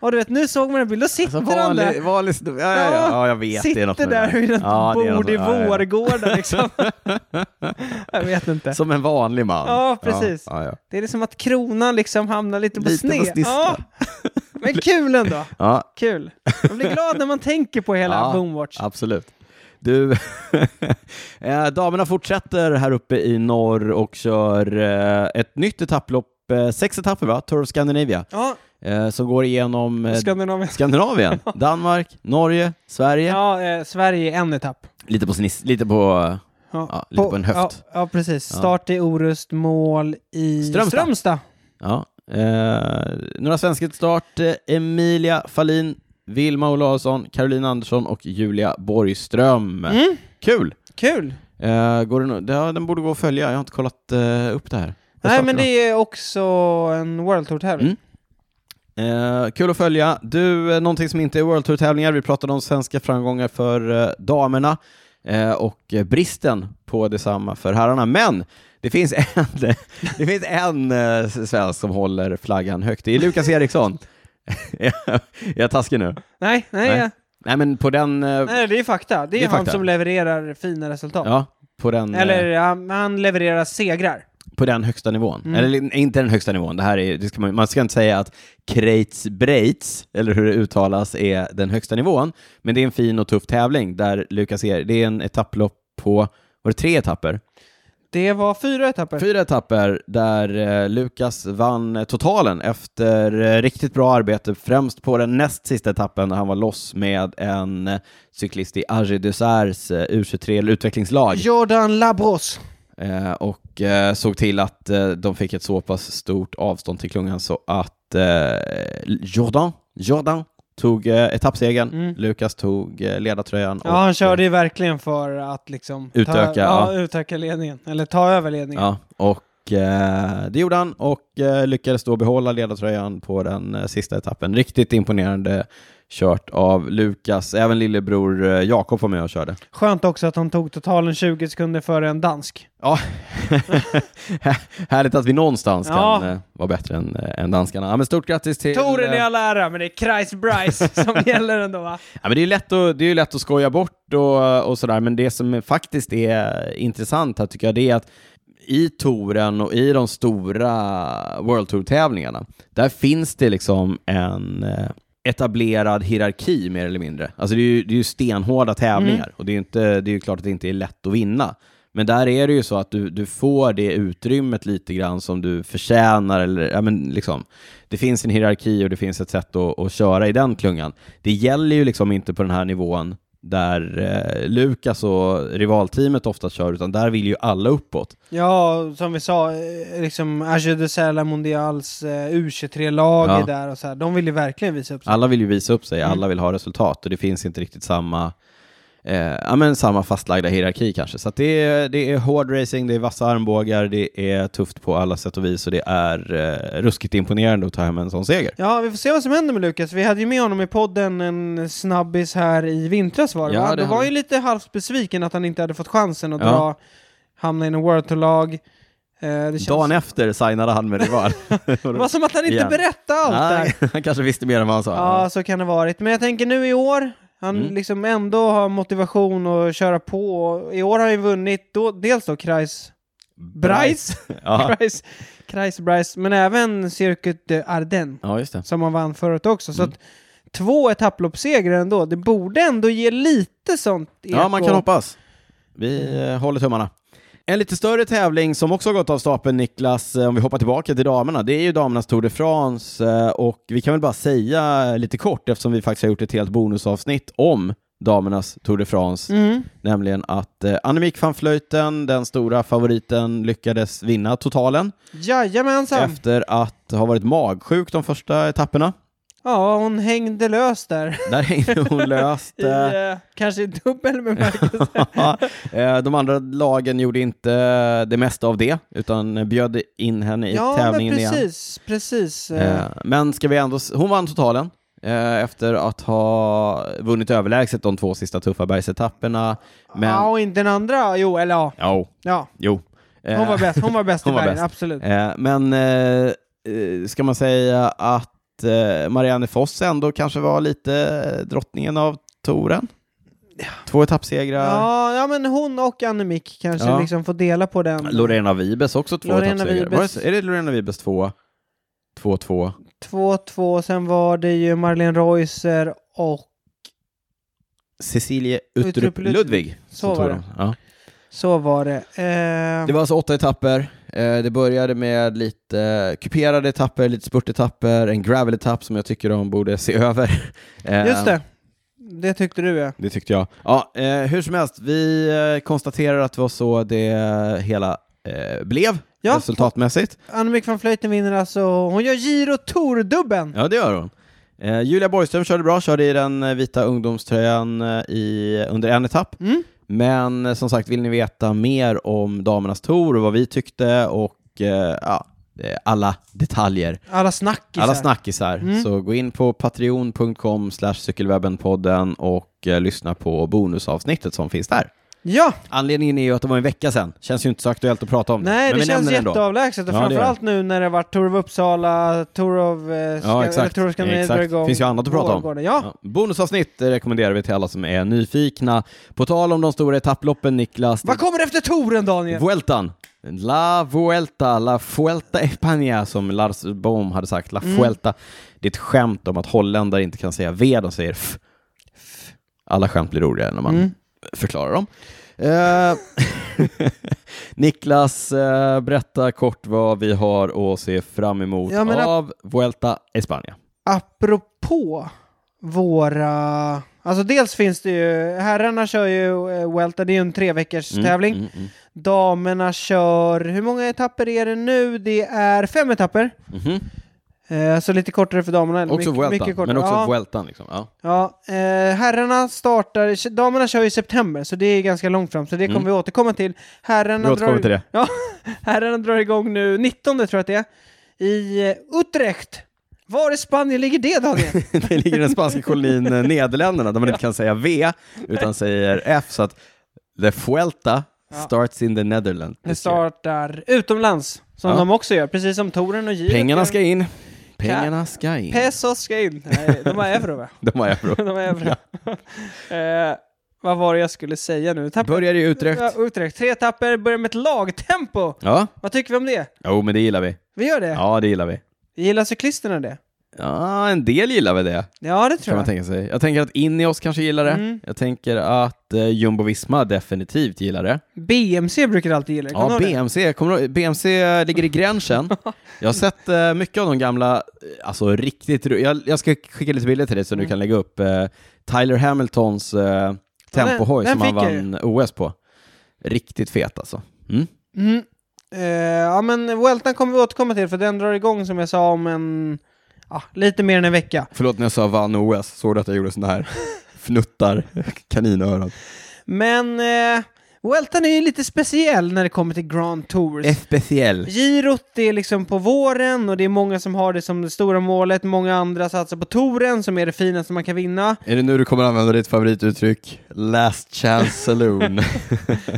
Och du vet, nu såg man en bild, då sitter Alltså, han vanlig, där. vanlig, ja, ja, ja, ja, jag vet. det är något sitter med det där vid ett Ja, det är något bord i med- ja, ja. Vårgårda liksom. jag vet inte. Som en vanlig man. Ja, precis. Ja, ja, Det är liksom att kronan liksom hamnar lite på Lite på sned. snisten. ja. Men kul ändå. ja. Kul. Man blir glad när man tänker på hela Ja, Boomwatch. Absolut. Du, eh, damerna fortsätter här uppe i norr och kör eh, ett nytt etapplopp, eh, sex etapper va? Tour of Scandinavia, Ja, eh, som går igenom eh, Skandinavien. Skandinavien, Danmark, Norge, Sverige. Ja, eh, Sverige en etapp. Lite på sniss, lite på... eh, Ja, lite på en höft. Ja, ja precis. Start i Orust, mål i Strömstad. Strömstad. Ja. Eh, några svenskar till start, eh, Emilia Fallin, Vilma Olausson, Caroline Andersson och Julia Borgström. Mm. Kul! Kul! Eh, går den, ja, den borde gå att följa, jag har inte kollat eh, upp det här. Nej, men Starterna. det är också en World Tour-tävling. Mm. Eh, kul att följa. Du, eh, någonting som inte är World Tour-tävlingar, vi pratade om svenska framgångar för eh, damerna eh, och eh, bristen på detsamma för herrarna. Men det finns en, det finns en eh, svensk som håller flaggan högt. Det är Lukas Eriksson. är jag taskig nu? Nej, nej, Nej. nej. Nej, men på den... eh, det är fakta. Det är, Det är han fakta. som levererar fina resultat. Ja, på den, eh, Eller han, han levererar segrar. på den högsta nivån. Eller inte den högsta nivån, det här är, det ska man, man ska inte säga att Kreitz Breitz, eller hur det uttalas, är den högsta nivån. Men det är en fin och tuff tävling där Lukas er, det är en etapplopp på, var det tre etapper? Det var fyra etapper. Fyra etapper där eh, Lukas vann eh, totalen efter eh, riktigt bra arbete, främst på den näst sista etappen där han var loss med en eh, cyklist i Arge Dessers eh, U23 eller utvecklingslag. Jordan Labros. Eh, och eh, såg till att eh, de fick ett så pass stort avstånd till klungan så att eh, Jordan, Jordan tog eh, etappsegern, Mm. Lukas tog eh, ledartröjan. Ja, han och, körde ju verkligen för att liksom... Utöka, ta, ja. ja. utöka ledningen. Eller ta över ledningen. Ja, och och eh, det gjorde han och eh, lyckades då behålla ledartröjan på den eh, sista etappen. Riktigt imponerande kört av Lukas. Även lillebror eh, Jakob var med och körde. Skönt också att han tog totalen 20 sekunder före en dansk. Ja, Här- härligt att vi någonstans Ja. kan eh, vara bättre än, eh, än danskarna. Ja, men stort grattis till... Toren i eh, all ära, men det är Kreis Bryce som gäller ändå va? Ja, men det är ju lätt, att- det är ju lätt att skoja bort och, och sådär, men det som är- faktiskt är intressant här tycker jag, det är att i touren och i de stora World Tour-tävlingarna, där finns det liksom en eh, etablerad hierarki mer eller mindre. Alltså det är ju, det är ju stenhårda tävlingar och det är, ju inte, det är ju klart att det inte är lätt att vinna. Men där är det ju så att du, du får det utrymmet lite grann som du förtjänar. Eller, ja, men liksom, det finns en hierarki och det finns ett sätt att, att köra i den klungan. Det gäller ju liksom inte på den här nivån där eh, Lukas och rivalteamet ofta kör, utan där vill ju alla uppåt. Ja, som vi sa, eh, liksom Agio de Sala Mondials eh, U23-lag Ja. är där och så här. De vill ju verkligen visa upp sig. Alla vill ju visa upp sig, Mm. alla vill ha resultat och det finns inte riktigt samma Eh, ja, men samma fastlagda hierarki kanske. Så att det, är, det är hård racing, det är vassa armbågar, det är tufft på alla sätt och vis och det är eh, ruskigt imponerande att ta hem en sån seger. Ja, vi får se vad som händer med Lukas. Vi hade ju med honom i podden en snabbis här i vintras var det Ja, va? det Då var hade ju lite halvt besviken att han inte hade fått chansen att Ja. dra, hamna i en World Tour-lag. Eh, det, känns... Dagen efter signade han med rival. det var som att han inte Igen. berättade allt där. Nej, han kanske visste mer än vad han sa. Ja, så kan det ha varit. Men jag tänker nu i år, han Mm. liksom ändå har motivation att köra på. Och I år har han ju vunnit då, dels då Kreis Bryce, Ja. Kreis, Kreis Bryce, men även Circuit de Ardennes ja, just det. som han vann förut också. Så Mm. att två etapploppssegrar ändå, det borde ändå ge lite sånt eko. Ja, man kan hoppas. Vi eh, håller tummarna. En lite större tävling som också har gått av stapeln, Niklas, eh, om vi hoppar tillbaka till damerna, det är ju damernas Tour de France eh, och vi kan väl bara säga lite kort, eftersom vi faktiskt har gjort ett helt bonusavsnitt om damernas Tour de France, Mm. nämligen att eh, Annemiek van Vleuten, den stora favoriten, lyckades vinna totalen Jajamensan! efter att ha varit magsjuk de första etapperna. Ja, hon hängde lös där. Där hängde hon löst. I, eh, eh, kanske i dubbel bemärkelse. Eh, De andra lagen gjorde inte eh, det mesta av det, utan bjöd in henne i ja, men tävlingen igen. precis, precis. eh. Eh, Men ska vi ändå, s- hon vann totalen eh, efter att ha vunnit överlägset de två sista tuffa bergsetapperna. Men, Ja, och inte den andra. Jo, eller ja. jo, ja. jo. Eh, Hon var bäst, hon var bäst i Hon var världen, bäst. absolut. eh, Men eh, eh, ska man säga att eh, Marianne Foss ändå kanske var lite drottningen av touren? Två etappsegrar. Ja, ja, men hon och Annemiek kanske Ja. liksom får dela på den. Lorena Vibes också två Lorena etappsegrar. Vibes. Var det- Är det Lorena Vibes två? Två, två. 2-2, sen var det ju Marlene Reusser och Cecilie Uttrup Uttrup Ludvig. Ludvig. Så som tog var det. dem. Ja. så var det. Eh, Det var alltså åtta etapper. Eh, Det började med lite eh, kuperade etapper, lite spurtetapper, en gravel-etapp som jag tycker de borde se över. Eh, Just det. Det tyckte du ja. Det tyckte jag. Ja, eh, hur som helst, vi eh, konstaterar att det var så det hela eh, blev Ja. resultatmässigt. Annemiek van Vleuten vinner alltså. Hon gör Giro Tour-dubben. Ja, det gör hon. Eh, Julia Borgström körde bra, körde i den eh, vita ungdomströjan eh, i, under en etapp. Mm. Men eh, som sagt, vill ni veta mer om damernas tour och vad vi tyckte och eh, ja, eh, alla detaljer, Alla snackisar. alla snackisar, Mm. så gå in på patreon.com slash cykelwebbenpodden och eh, lyssna på bonusavsnittet som finns där. Ja, Anledningen är ju att det var en vecka sedan, känns ju inte så aktuellt att prata om nej men det vi känns nämner det ändå. jätteavlägset Ja, det och gör framförallt nu när det var Tour of Uppsala, Tour of... Eh, Scan- Ja, eller exakt. Tour of Scandinavia exakt. drar igång. finns ju annat att prata om. Vårgården. Ja, Ja, Bonusavsnitt eh, rekommenderar vi till alla som är nyfikna. På tal om de stora etapploppen, Niklas. Vad kommer efter touren Daniel? Vueltan. La Vuelta, La Fuelta España, som Lars Bohm hade sagt. La Mm. Fuelta. Det är ett skämt om att holländare inte kan säga V, de säger F. Alla skämt blir roligare när man Mm. förklarar dem. Eh, Niklas, eh, berätta kort vad vi har att se fram emot Ja, men att- av Vuelta España. apropå våra... Alltså dels finns det ju, herrarna kör ju eh, Welta, det är ju en tre veckors tävling. Mm, mm, Damerna kör, hur många etapper är det nu? Det är fem etapper. mm. Mhm. Eh, så lite kortare för damerna. eller Också mycket, mycket Vueltan, kortare. men också ja, Vueltan liksom. Ja. ja. Eh, herrarna startar, damerna kör i september, så det är ganska långt fram, så det kommer Mm. vi återkomma till. Vi Herrarna återkommer drar, till det. ja, herrarna drar igång nu 19 tror jag att det är, i eh, Utrecht. Var i Spanien ligger det Daniel? det ligger i den spanska kolonin eh, Nederländerna där man inte kan säga V utan säger F så att The Fuelta Ja. starts in the Netherlands. Det startar utomlands, som Ja. de också gör, precis som touren och giret. Pengarna gör. ska in. Pengarna ska in. Pesos ska in. Nej, de har euro va? De har euro. De har euro. eh, vad var det jag skulle säga nu? Tapp- Börjar i Ja, Utrecht. Utrecht. Tre etapper, börjar med ett lagtempo. Ja, Vad tycker vi om det? jo men det gillar vi. Vi gör det. Ja, det gillar vi. Gillar cyklisterna det? Ja, en del gillar väl det, Ja, det tror kan man jag. tänka sig. Jag tänker att Ineos kanske gillar det. Mm. Jag tänker att eh, Jumbo Visma definitivt gillar det. BMC brukar alltid gilla det. Kommer Ja, du ihåg det? BMC, kommer du ihåg- BMC ligger i gränsen. Jag har sett eh, mycket av de gamla, eh, alltså riktigt ro- jag, jag ska skicka lite bilder till dig så du Mm. kan lägga upp eh, Tyler Hamiltons eh, tempohoj den som han fick jag ju. vann OS på. Riktigt fet alltså. Mm. Mm. Eh, ja, men Weltan kommer vi återkomma till, för den drar igång som jag sa om en... Ja, lite mer än en vecka. Förlåt när jag sa vann OS, såg du att jag gjorde sådana här fnuttar, kaninöron? Men eh, Weltan är ju lite speciell när det kommer till Grand Tours. FBCL. Girot det är liksom på våren och det är många som har det som det stora målet, många andra satsar på touren som är det finaste man kan vinna. Är det nu du kommer använda ditt favorituttryck? Last chance saloon.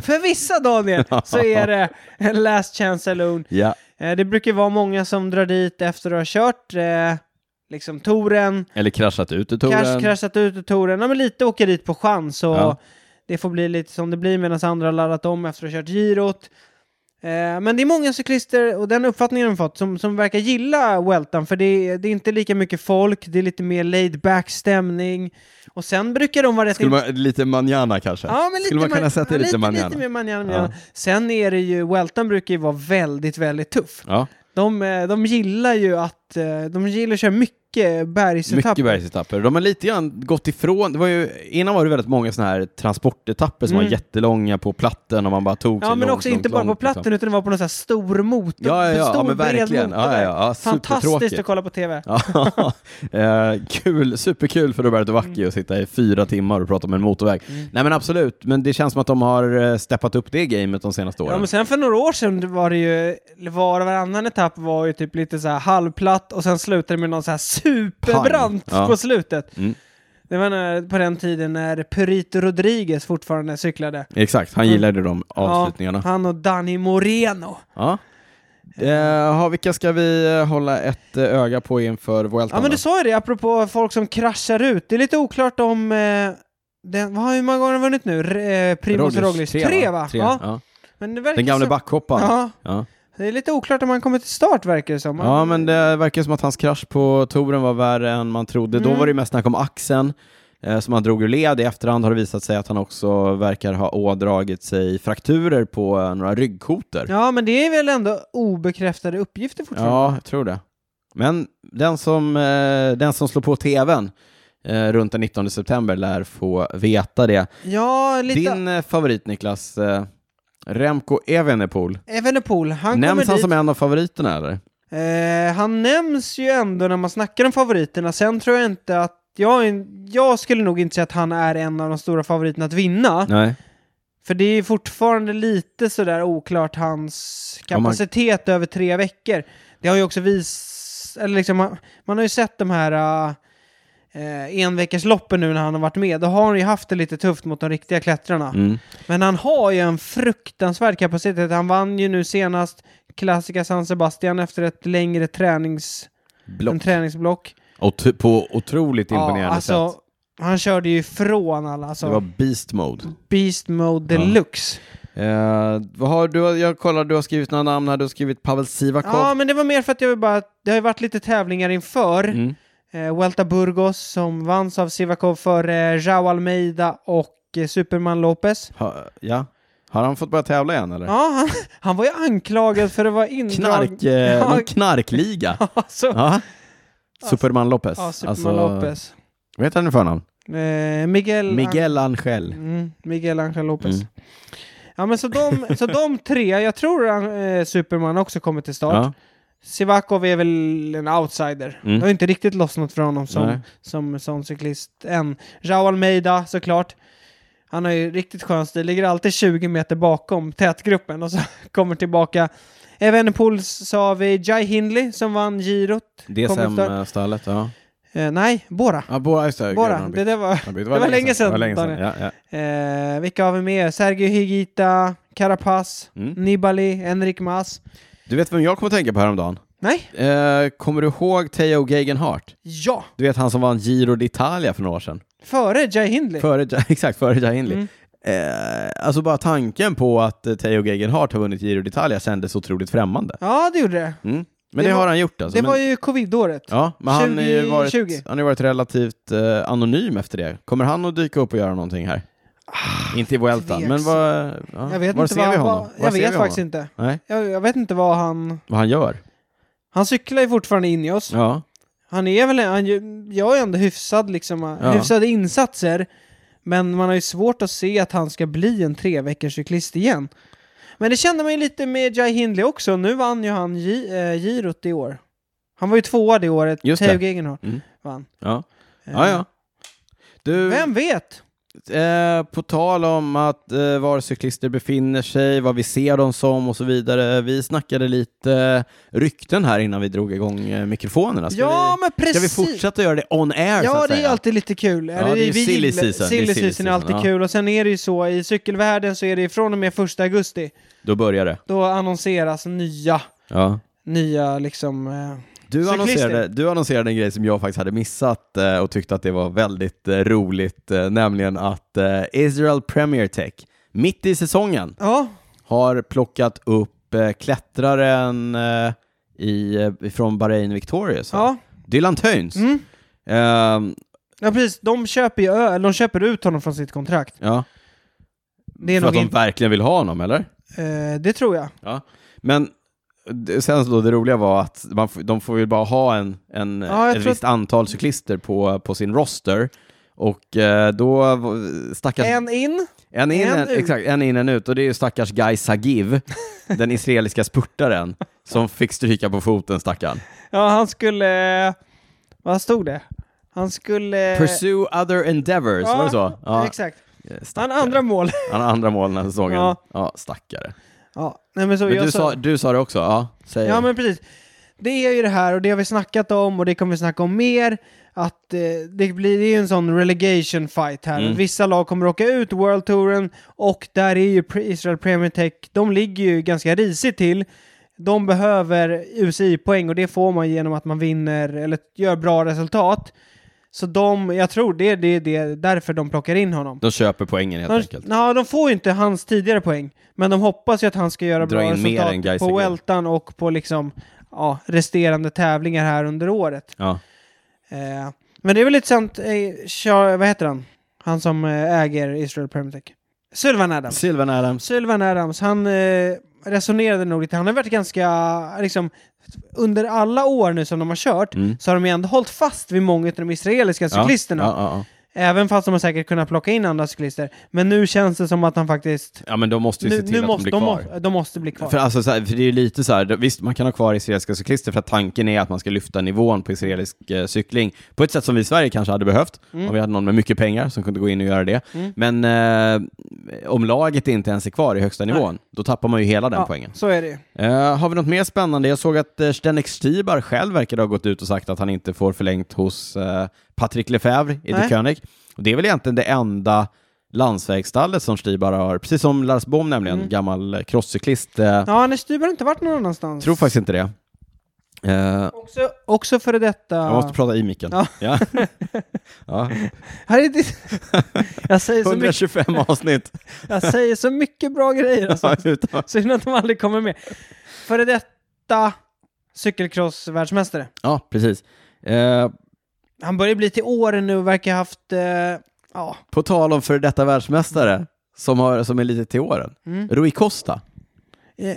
För vissa Daniel så är det en last chance saloon. ja, Eh, det brukar vara många som drar dit efter att ha kört eh, liksom touren, eller kraschat ut ur krasch, touren. kraschat ut ur touren, ja, men lite åker dit på chans och Ja. det får bli lite som det blir medan andra har laddat om efter att ha kört girot. Eh, Men det är många cyklister, och den uppfattningen har de fått, som, som verkar gilla Weltan, för det är, det är inte lika mycket folk, det är lite mer laid back stämning. Och sen brukar de vara rätt... Skulle man, lite manjana kanske? Ja, men lite Skulle man kunna man- sätta ja, lite manjana? Lite mer manjana. Ja. manjana. Sen är det ju, Weltan brukar ju vara väldigt, väldigt tuff. Ja, De, eh, de gillar ju att, eh, de gillar att köra mycket bergsetapper. mycket bergsetapper. De har lite grann gått ifrån, det var ju, innan var det väldigt många sådana här transportetapper som Mm. var jättelånga på platten och man bara tog Ja, sig men långt, också långt, inte bara på långt, platten Liksom. utan det var på någon sån här stor motor. Ja, ja, ja, stor, ja men bred verkligen. Ja, motorväg. ja, ja, Fantastiskt att supertråkigt. kolla på TV. Ja, eh, kul, superkul för Roberto Vacchi Mm. att sitta i fyra timmar och prata om en motorväg. Nej men absolut, men det känns som att de har eh, steppat upp det gamet de senaste åren. Ja, men sen för några år sedan var det ju, var och varannan etapp var ju typ lite så här halvplatt och sen slutade det med någon så här superbrant Pang. Ja. på slutet. Mm. Det var när, på den tiden när Perito Rodriguez fortfarande cyklade. Exakt, han gillade de avslutningarna. Mm. Ja, han och Dani Moreno. Ja. Eh, ha, vilka ska vi eh, hålla ett eh, öga på inför Vueltan? Ja men då? du sa ju det, apropå folk som kraschar ut. Det är lite oklart om... Eh, den, vad, har- hur många gånger har han vunnit nu? R- eh, Primoz Roglic? Tre va? Ja. Men det verkar Den gamle som- backhopparen. Ja. Ja, Ja. det är lite oklart om han kommer till start verkar det som. men det verkar som att hans krasch på touren var värre än man trodde. Då Mm. var det ju mest snack om axeln eh, som han drog ur led. I efterhand har det visat sig att han också verkar ha ådragit sig frakturer på eh, några ryggkotor. Ja, Ja, men det är väl ändå obekräftade uppgifter fortfarande? jag tror det. Men den som, eh, den som slår på tvn eh, runt den 19 september lär få veta det. Ja, lite... Din eh, favorit Niklas, eh, Remco Evenepoel, Evenepoel, han nämns kommer han dit. som en av favoriterna eller? Eh, han nämns ju ändå när man snackar om favoriterna. Sen tror jag inte att... Jag, är en- jag skulle nog inte säga att han är en av de stora favoriterna att vinna. Nej. För det är fortfarande lite sådär oklart hans Ja, man- kapacitet över tre veckor. Det har ju också vis... Eller liksom, man, man har ju sett de här uh, enveckorsloppen nu när han har varit med. Då har han ju haft det lite tufft mot de riktiga klättrarna. Mm. Men han har ju en fruktansvärd kapacitet. Han vann ju nu senast Classica San Sebastian efter ett längre tränings, en Block. träningsblock. alltså, Och t- på otroligt imponerande sätt. han körde ju ifrån alla. Det Alltså, var beast mode. Beast Mode Ja. Deluxe. Eh, vad har du, jag kollar, du har skrivit några namn här, du har skrivit Pavel Sivakov. Ja, men det var mer för att jag vill bara... Det har ju varit lite tävlingar inför. Mm. Eh, Vuelta Burgos som vanns av Sivakov för eh, Jao Almeida och eh, Superman Lopez. Ha, ja. Har han fått börja tävla igen eller? Ja, han, han var ju anklagad för att vara indragen... Knark, eh, Ja. någon knarkliga. Alltså, ja. Superman Lopez. ja, Superman Alltså, Lopez. Vad heter han i förnamn? Eh, Miguel... Miguel Angel. Mm, Miguel Angel Lopez. Mm. Ja, men så de, så de tre, jag tror eh, Superman också kommer till start. Ja. Sivakov är väl en outsider. Mm. Det har inte riktigt lossnat för honom som, Nej. som, som cyklist än. Jao Almeida såklart. Han har ju riktigt skön stil, ligger alltid 20 meter bakom tätgruppen och så kommer tillbaka. Evenepoel sa vi Jai Hindley som vann girot. Kommer efter- DSM-stallet, ja. Eh, nej, Bora. Ja, Bora, just det. Bora. Grönby. Det, där var... Grönby. det var länge sedan, Det var länge sedan. Daniel. Ja, ja. Eh, vilka har vi mer? Sergio Higuita, Carapaz, Mm. Nibali, Enrik Mas. Du vet vem jag kommer att tänka på häromdagen? Nej? Eh, kommer du ihåg Theo Gegenhardt? Ja! Du vet han som vann Giro d'Italia för några år sedan? Före Jai Hindley. Före, Ja- exakt, före Jai Hindley. Eh. Mm. Eh, alltså bara tanken på att eh, Theo Gegenhardt har vunnit Giro d'Italia kändes otroligt främmande. Ja, det gjorde det. Mm. Men Det det, var- har han gjort alltså. Det men, var ju covidåret. ja, men han har ju 2020. varit, han har ju varit relativt eh, anonym efter det. Kommer han att dyka upp och göra någonting här? inte i Vuelta, tveksam. men vad... Ja, Jag vet var Ah, inte ser vad vi han, honom? vad- Var Jag ser vi vet honom? faktiskt inte. Nej, Jag, jag vet inte vad han... vad han gör. Han cyklar ju fortfarande in i oss. Ja. Han är väl... Han gör- gör ju ändå hyfsad liksom, Ja. hyfsade insatser. Men man har ju svårt att se att han ska bli en treveckorscyklist igen. Men det kände man ju lite med Jai Hindley också. Nu vann ju han gi, eh, girot i år. Han var ju tvåa det året. Just Theo det. Gegenhardt Mm. vann. Ja. Eh, ja, ja. Du, Vem vet? Eh, på tal om att eh, var cyklister befinner sig, vad vi ser dem som och så vidare. Vi snackade lite rykten här innan vi drog igång eh, mikrofonerna. Ska, ja, men vi, ska vi precis. fortsätta göra det on air så Ja, att det är säga? alltid lite kul. Eller, det är ju vi silly gillar- season. Silly Det är silly season är alltid season, ja. kul. Och sen är det ju så, i cykelvärlden så är det ju från och med 1 augusti, Då börjar det. då annonseras nya, Ja. nya liksom... Eh, Du, Cyklister. annonserade, du annonserade en grej som jag faktiskt hade missat eh, och tyckte att det var väldigt eh, roligt, eh, nämligen att eh, Israel Premier Tech mitt i säsongen ja, har plockat upp eh, klättraren eh, i, eh, från Bahrain Victorious, ja, Dylan Töns. mm. Ehm, ja, precis. De köper ju ö, eller de köper ut honom från sitt kontrakt. ja. Det är För att nog de inte... verkligen vill ha honom, eller? Eh, det tror jag. Ja. Men det- sen så då det roliga var att man, f- de får ju bara ha en, en, Ja, jag ett tror visst antal cyklister på, på sin roster. Och eh, då v- stackars... En in. en in, en en, ut. Exakt, en in, en ut. Och det är ju stackars Guy Sagiv, den israeliska spurtaren, som fick stryka på foten, stackaren. Ja, han skulle... eh, Vad stod det? Han skulle... eh, Pursue other endeavors, var det så? Ja, eh, exakt. Han stackare. har andra mål. Han har andra mål den här säsongen. Ja. Ja, stackare. ja, nej, men så Men jag du, sa, du sa det också, ja. Säg. Ja men precis. Det är ju det här och det har vi snackat om och det kommer vi snacka om mer. Att eh, det blir det är ju en sån relegation fight här. Mm. Vissa lag kommer åka ut World Touren och där är ju Pre- Israel Premier Tech, de ligger ju ganska risigt till. De behöver UCI-poäng och det får man genom att man vinner eller gör bra resultat. Så de, jag tror det, det är det, därför de plockar in honom. De köper poängen helt De, enkelt. ja, de får ju inte hans tidigare poäng, men de hoppas ju att han ska göra Dra bra in mer resultat än Gais på Agell. Weltan och på liksom, ja, resterande tävlingar här under året. Ja. Eh, men det är väl lite sant, eh, Char- vad heter han? Han som eh, äger Israel Premier Tech. Sylvan Adams. Sylvan Adams. Sylvan Adams, han eh, resonerade nog lite. Han har varit ganska, liksom, under alla år nu som de har kört Mm. så har de ju ändå hållit fast vid många av de israeliska cyklisterna. Ja, ja, ja. Även fast de har säkert kunnat plocka in andra cyklister. Men nu känns det som att han faktiskt... ja, men de måste ju se Nu, till nu att måste, de blir kvar. må- de måste bli kvar. För, alltså, så här, för det är ju lite så här, det- visst man kan ha kvar israeliska cyklister för att tanken är att man ska lyfta nivån på israelisk eh, cykling på ett sätt som vi i Sverige kanske hade behövt, Mm. om vi hade någon med mycket pengar som kunde gå in och göra det. Men eh, om laget inte ens är kvar i högsta nivån, då tappar man ju hela den ja, poängen. Så är det ju. Eh, har vi något mer spännande? Jag såg att uh, Zdenek Stybar själv verkar ha gått ut och sagt att han inte får förlängt hos eh, Patrick Lefebvre i Nej. De König. Och det är väl egentligen det enda landsvägsstallet som Stybar har, precis som Lars Bohm nämligen, gammal eh, crosscyklist. eh, Mm. Ja, Anders Dyber har inte varit någon annanstans. Tror faktiskt inte det. Eh, Också, också före detta... Jag måste prata i micken. Ja. Ja. ja. Här är det... jag, säger så mycket, 125 avsnitt. jag säger så mycket bra grejer alltså. Ja, utan- Synd att de aldrig kommer med. Före detta cykelcross-världsmästare. ja, precis. Eh, Han börjar bli till åren nu och verkar ha haft... Eh, ja. på tal om före detta världsmästare, som, har, som är lite till åren, Mm. Rui Costa. Eh,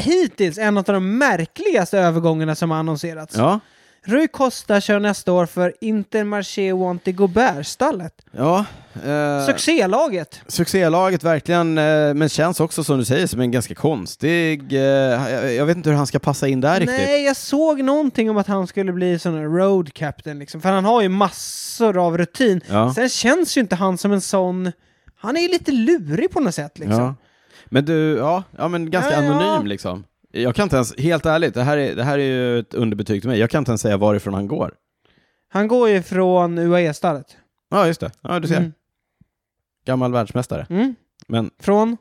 Hittills en av de märkligaste övergångarna som har annonserats. Ja. Rui Costa kör nästa år för Intermarché Wanty Gobert-stallet. Ja, eh, Succélaget. succélaget verkligen, eh, men känns också som du säger som en ganska konstig... Eh, jag, jag vet inte hur han ska passa in där riktigt. Nej, jag såg någonting om att han skulle bli sån här road captain liksom, för han har ju massor av rutin. Ja. Sen känns ju inte han som en sån... Han är ju lite lurig på något sätt liksom. Ja. Men du, ja, ja men ganska Ja, ja. anonym liksom. Jag kan inte ens, helt ärligt, det här, är, det här är ju ett underbetyg till mig, jag kan inte ens säga varifrån han går. Han går ju från UAE-stallet. Ja, just det. Ja, du ser. Mm. Gammal världsmästare. Mm. Men, Från?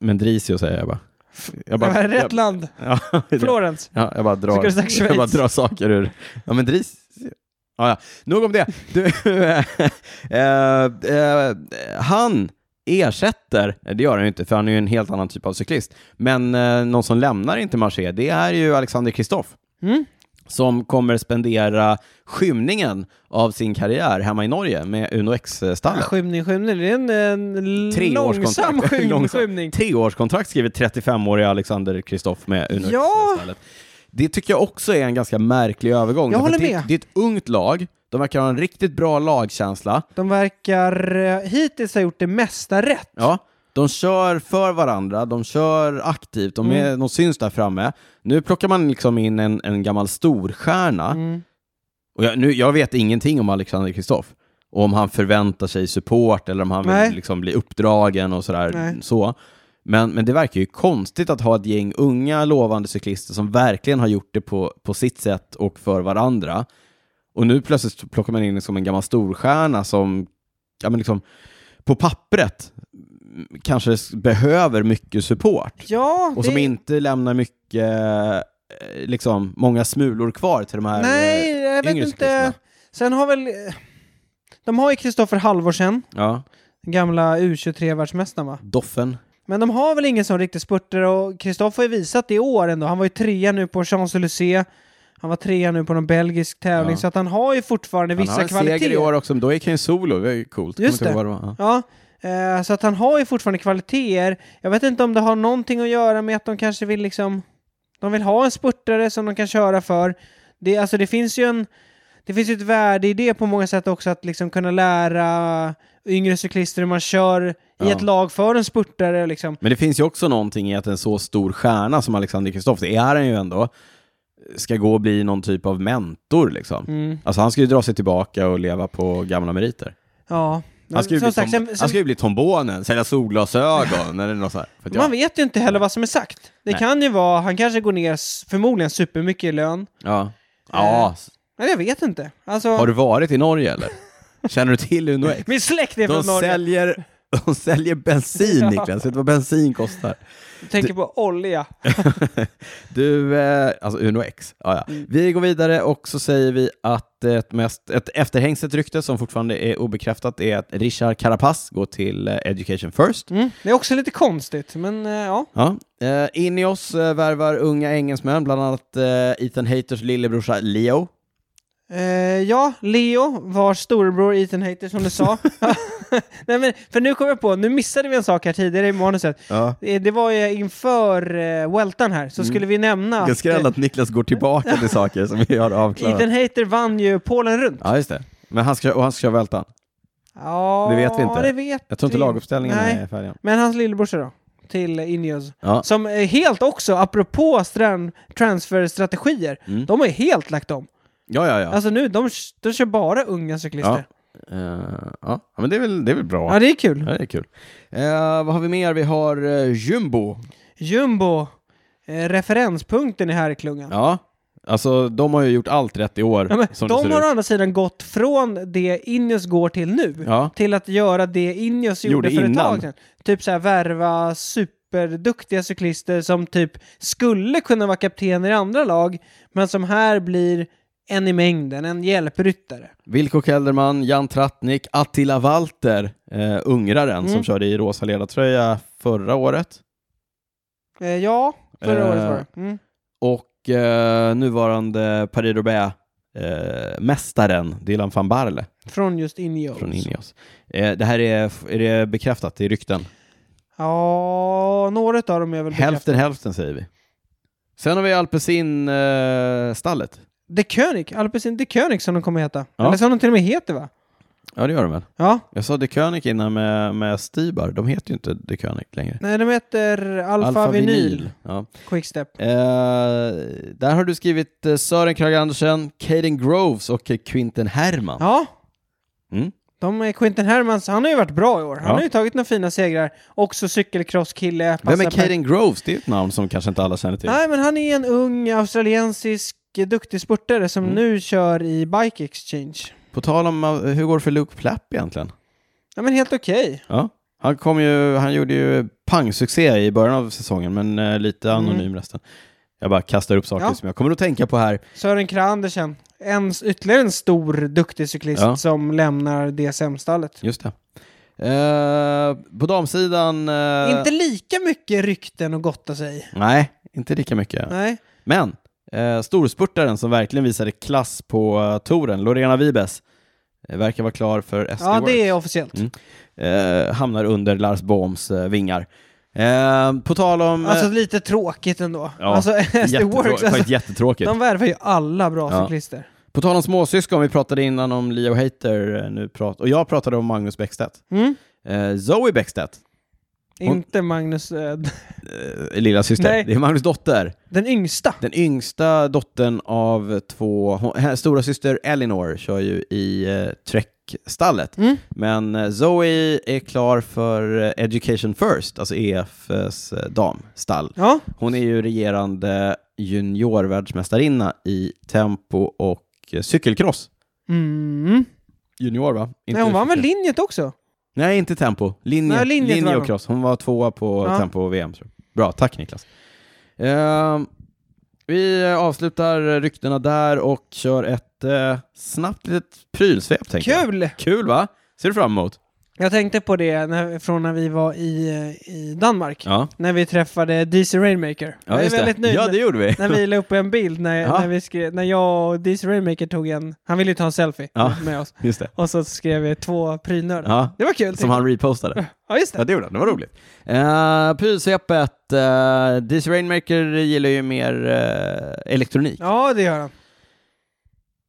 men Drisio säger jag bara. Jag bara, Rätt jag, land. ja, Florens. ja, jag bara Skulle du drar, sagt jag bara Schweiz? drar saker ur. Ja, men Drisio. Ja, ja. Nog om det. Du, eh, eh, han ersätter, det gör han ju inte, för han är ju en helt annan typ av cyklist, men eh, någon som lämnar inte Marseille, det är ju Alexander Kristoff. Mm. som kommer spendera skymningen av sin karriär hemma i Norge med Uno X-stallet. Skymning, skymning. Det är en, en långsam skym- Långsam. skymning. Treårskontrakt skriver 35-årige Alexander Kristoff med Uno Ja. X-stallet. Det tycker jag också är en ganska märklig övergång. Jag därför håller att det, med. det är ett ungt lag, de verkar ha en riktigt bra lagkänsla. De verkar eh, hittills ha gjort det mesta rätt. Ja. De kör för varandra, de kör aktivt, de, är, Mm. de syns där framme. Nu plockar man liksom in en, en gammal storstjärna. Mm. Och jag, nu, jag vet ingenting om Alexander Kristoff. Och om han förväntar sig support eller om han Nej. vill liksom bli uppdragen och sådär. Nej. Så. Men, men det verkar ju konstigt att ha ett gäng unga lovande cyklister som verkligen har gjort det på, på sitt sätt och för varandra. Och nu plötsligt plockar man in liksom en gammal storstjärna som ja, men liksom, på pappret mm, kanske s- behöver mycket support. Ja, Och det... som inte lämnar mycket, eh, liksom, många smulor kvar till de här eh, Nej, jag vet yngre cyklisterna. inte. Sen har väl... eh, De har ju Kristoffer Halvorsen, Ja, den gamla U23-världsmästaren va? Doffen. Men de har väl ingen som riktigt spurter och Kristoffer har ju visat det i år ändå. Han var ju trea nu på Champs-Élysées. Han var trea nu på någon belgisk tävling, Ja. så att han har ju fortfarande Han har vissa en seger i kvaliteter. år också, men då gick han ju solo, det är ju coolt. Kommer Just inte ihåg det. vad var. Ja. Ja, eh, så att han har ju fortfarande kvaliteter. Jag vet inte om det har någonting att göra med att de kanske vill liksom... De vill ha en spurtare som de kan köra för. Det, alltså det finns ju en... Det finns ju ett värde i det på många sätt också att liksom kunna lära yngre cyklister hur man kör i Ja. ett lag för en spurtare liksom. Men det finns ju också någonting i att en så stor stjärna som Alexander Kristoff, det är han ju ändå, ska gå och bli någon typ av mentor liksom. Mm. Alltså han ska ju dra sig tillbaka och leva på gamla meriter. Ja. Han ska ju, Som bli, sagt, tom, sen- han sen- ska ju bli tombonen, sälja solglasögon eller något sånt. För att Man jag, vet ju inte heller vad som är sagt. Det Nej. kan ju vara, han kanske går ner s- förmodligen supermycket i lön. ja. Ja, Eller jag vet inte. Alltså, har du varit i Norge eller? Känner du till Uno X? min släkt är De från Norge. säljer, de säljer bensin Niklas, vet du vad bensin kostar? Tänker på olja. Du, eh, alltså Uno X. Ja, ja. Mm. Vi går vidare och så säger vi att ett, mest, ett efterhängset rykte som fortfarande är obekräftat är att Richard Carapaz går till eh, Education First. Mm. Det är också lite konstigt, men eh, ja. Ja. Eh, Ineos eh, värvar unga engelsmän, bland annat eh, Ethan Haters lillebrorsa Leo. Eh, ja, Leo, vars storebror Ethan Hater som du sa. Nej men, för nu kom jag på, nu missade vi en sak här tidigare i manuset. Ja. Eh, Det var ju inför eh, Weltan här, Mm. så skulle vi nämna Jag att skräll eh, att Niklas går tillbaka till saker som vi har avklarat. Ethan Hater vann ju Polen runt. Ja, just det. Men han ska, och han ska köra vältan. Ja, Det vet vi inte. det vet Jag tror inte vi- laguppställningen Nej. är färdig. än. Men hans lillebrorsa då? Till Ineos. Ja. Som är helt också, apropå stran- transferstrategier, Mm. de har ju helt lagt om. Ja, ja, ja. Alltså nu, de, de kör bara unga cyklister. Ja. Eh, ja. ja, men det är väl, det är väl bra. Ja, det är kul. Ja, det är kul. Eh, vad har vi mer? Vi har eh, Jumbo. Jumbo, eh, referenspunkten i härklungan. Ja, alltså de har ju gjort allt rätt i år. Ja, men som det de ser har å ut. andra sidan gått från det Ineos går till nu, Ja. till att göra det Ineos gjorde, Gjorde för ett innan. tag sedan. Typ så här värva superduktiga cyklister som typ skulle kunna vara kaptener i andra lag, men som här blir en i mängden, en hjälpryttare. Vilko Kelderman, Jan Trattnik, Attila Walter, eh, ungraren som körde i rosa ledartröja förra året. Eh, ja, förra Eh, året var det. Mm. Och eh, nuvarande Paris roubaix eh, mästaren Dylan van Barle Från just Ineos. från Ineos. Eh, det här är, är det bekräftat, det är rykten. Ja, några av dem är väl bekräftade. eh, Hälften hälften säger vi. Sen har vi Alpecin-stallet. De König, Alpecin De König som de kommer heta. Ja. Eller som de till och med heter va? Ja, det gör de väl. Ja. Jag sa De König innan med, med Stibar. De heter ju inte De König längre. Nej, de heter Alpha, Vinyl. Ja. Quickstep. Eh, där har du skrivit eh, Sören Kragh Andersen, Caden Groves och eh, Quinten Herman. Ja. Mm. De är Quinten Hermans, han har ju varit bra i år. Han Ja. har ju tagit några fina segrar. Också cykelcrosskille. Vem är passar per- Caden Groves? Det är ett namn som kanske inte alla känner till. Nej, men han är en ung australiensisk eh, duktig spurtare som Mm. nu kör i Bike Exchange. På tal om eh, hur går det för Luke Plapp egentligen? Ja, men helt okej. Ja. Han, kom ju, han gjorde ju pangsuccé i början av säsongen, men eh, lite Mm. anonym resten. Jag bara kastar upp saker Ja. som jag kommer att tänka på här. Sören Kragh Andersen, en, ytterligare en stor duktig cyklist Ja. som lämnar DSM-stallet. Just det. Eh, på damsidan... eh, Inte lika mycket rykten att gotta sig i. Nej, inte lika mycket. Nej. Men eh, storspurtaren som verkligen visade klass på eh, touren, Lorena Vibes, eh, verkar vara klar för SD Ja, Works. det är officiellt. Mm. eh, Hamnar under Lars Bohms eh, vingar. Eh, på tal om... Alltså eh, lite tråkigt ändå. Ja, alltså, SD jättetrå- Works, faktiskt alltså, jättetråkigt. de värvar ju alla bra Ja. cyklister. På tal om småsyskon, vi pratade innan om Leo Hater, eh, nu prat- och jag pratade om Magnus Bäckstedt. Mm? Eh, Zoe Bäckstedt, Hon- Inte Magnus, eh, d- eh, lilla syster. Nej. det är Magnus dotter. den yngsta. Den yngsta dottern av två, hon, hennes stora syster Elinor kör ju i eh, Trek-stallet. Mm. Men eh, Zoe är klar för eh, Education First, alltså EFs eh, damstall. Ja, Hon är ju regerande juniorvärldsmästarinna i tempo och eh, cykelcross. mm. Junior va? Inte Nej, hon vann väl cykel. linjet också? Nej, inte tempo. Linje, Nej, linjet linje vann och hon. cross. Hon var tvåa på Ja. tempo och VM. tror jag. Bra, tack Niklas. Ehm, vi eh, avslutar ryktena där och kör ett eh, snabbt litet prylsvep. tänker jag. Kul! Kul va? Ser du fram emot? Jag tänkte på det när, från när vi var i, eh, i Danmark. Ja, När vi träffade DC Rainmaker. jag är just det. väldigt nöjd Ja, med- det gjorde vi. när vi la upp en bild när, Ja. när, vi skrev, när jag och DC Rainmaker tog en... Han ville ju ta en selfie Ja. med oss. Just det. Och så skrev vi två prynördar. Ja, Det var kul. som tycker jag. han repostade. Ja, just Ja, det. det gjorde han. Det var roligt. Uh, prylsvepet. eh, DC Rainmaker gillar ju mer eh, elektronik. Ja, det gör han.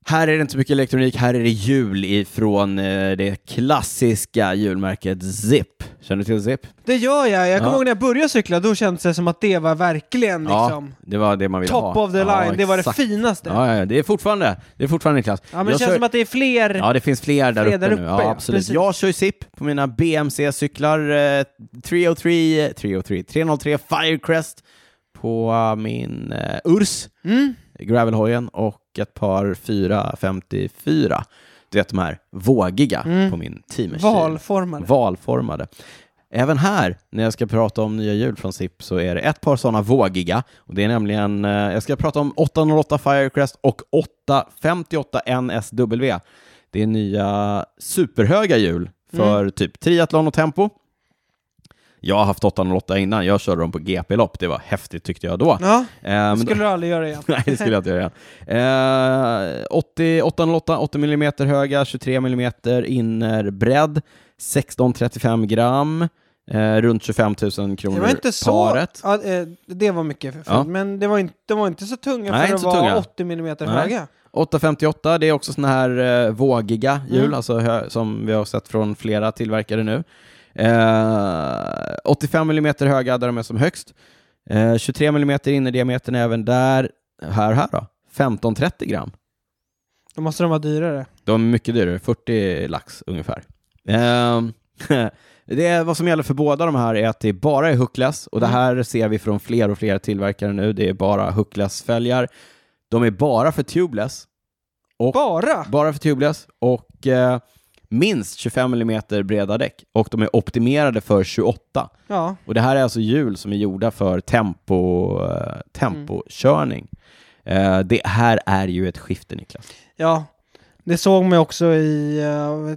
Här är det inte så mycket elektronik, här är det hjul ifrån eh, det klassiska hjulmärket Zip. Känner du till Zip? Det gör jag. Jag kommer Ja. ihåg när jag började cykla, då kändes det som att det var verkligen liksom... det var det man ville ha. Top of the line, Ja, det var det exakt. finaste. Ja, Ja, ja, ja, det är fortfarande, det är fortfarande en klass. men det Jag känns kör- som att det är fler... Ja, det finns fler där Fler uppe, där nu. uppe, Ja, ja. absolut. Precis. Jag kör ju SIP på mina BMC-cyklar, eh, 303, 303, 303 Firecrest på eh, min eh, Urs, Mm. Gravelhojen, och ett par 454. Du vet de här vågiga Mm. på min Teamers. Valformade. valformade. Även här, när jag ska prata om nya hjul från SIP, så är det ett par sådana vågiga. Och det är nämligen, eh, jag ska prata om 808 Firecrest och 858 NSW. Det är nya superhöga hjul för typ triathlon och tempo. Jag har haft 808 innan, jag körde dem på GP-lopp, det var häftigt tyckte jag då. Ja, Eh, men då- skulle du aldrig göra igen. Nej, det skulle jag inte göra igen. Eh, 80, 808, 80 mm höga, 23 mm innerbredd, 16-35 gram, eh, runt 25 000 kronor Det var inte så... paret. Ja, eh, det var mycket för Ja. Men det var inte, de var inte så Nej, tunga för att inte så tunga. vara 80 mm Nej. höga. 858, det är också sådana här eh, vågiga hjul, Mm. alltså hö- som vi har sett från flera tillverkare nu. Eh, 85 mm höga där de är som högst. Eh, 23 mm innerdiametern är även där. Här, här då? 15-30 gram. Då måste de vara dyrare. De är mycket dyrare, 40 lax ungefär. Ehm, det är vad som gäller för båda de här är att det bara är huckless och det här ser vi från fler och fler tillverkare nu. Det är bara huckless-fälgar. De är bara för tubeless, Bara? bara för tubeless och eh, minst 25 mm breda däck och de är optimerade för 28. Ja. Och det här är alltså hjul som är gjorda för tempo, eh, tempokörning. Eh, det här är ju ett skifte Niklas. Ja. Det såg man ju också i,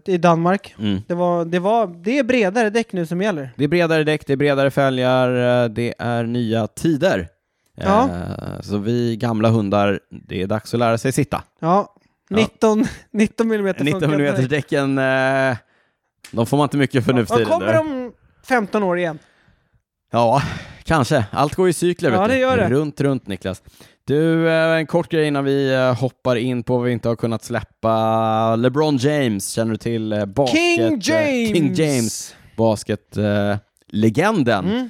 eh, i Danmark. Mm. Det, var, det, var, det är bredare däck nu som gäller. Det är bredare däck, det är bredare fälgar, eh, det är nya tider. Eh, Ja. Så vi gamla hundar, det är dags att lära sig sitta. Ja. Ja. 19, 19 mm 19 mm däcken, eh, de får man inte mycket för nu för Och tiden. kommer du. om 15 år igen. Ja, kanske. Allt går i cykler. Ja, vet du. det gör det. Runt, runt Niklas. Du, eh, en kort grej innan vi eh, hoppar in på vad vi inte har kunnat släppa. LeBron James, känner du till eh, basket... King eh, James! King James, basketlegenden, Mm.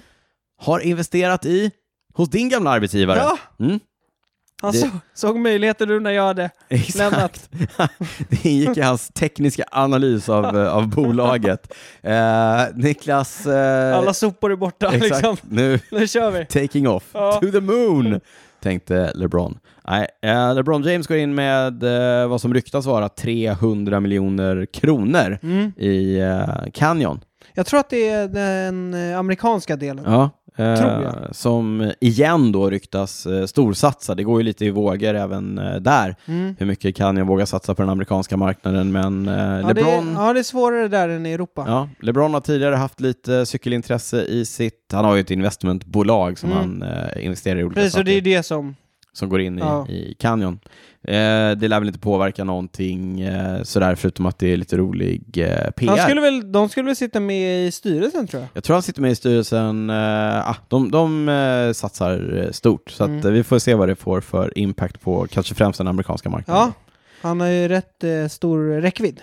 har investerat i, hos din gamla arbetsgivare. Ja, Mm, han Det- så, såg möjligheter nu när jag hade lämnat. exakt. Det ingick i hans tekniska analys av, eh, av bolaget. Eh, Niklas... eh, Alla sopor är borta exakt, liksom. nu Nu kör vi. Taking off Ja. to the moon, tänkte LeBron. Nej, eh, LeBron James går in med eh, vad som ryktas vara 300 miljoner kronor Mm. i eh, Canyon. Jag tror att det är den eh, amerikanska delen. Ja, eh, Tror jag. Som igen då ryktas eh, storsatsa. Det går ju lite i vågor även eh, där. Mm. Hur mycket Canyon vågar satsa på den amerikanska marknaden, men eh, Ja, LeBron... det, ja, det är svårare där än i Europa. Ja, LeBron har tidigare haft lite cykelintresse i sitt... Han har ju ett investmentbolag som Mm. han eh, investerar i olika Precis, och saker. det är det som... som går in i, Ja. i Canyon. Eh, det lär väl inte påverka någonting eh, sådär, förutom att det är lite rolig eh, PR. Han skulle väl, de skulle väl sitta med i styrelsen tror jag. Jag tror han sitter med i styrelsen. Eh, ah, de de eh, satsar eh, stort, så att, Mm. eh, vi får se vad det får för impact på kanske främst den amerikanska marknaden. Ja, han har ju rätt eh, stor räckvidd.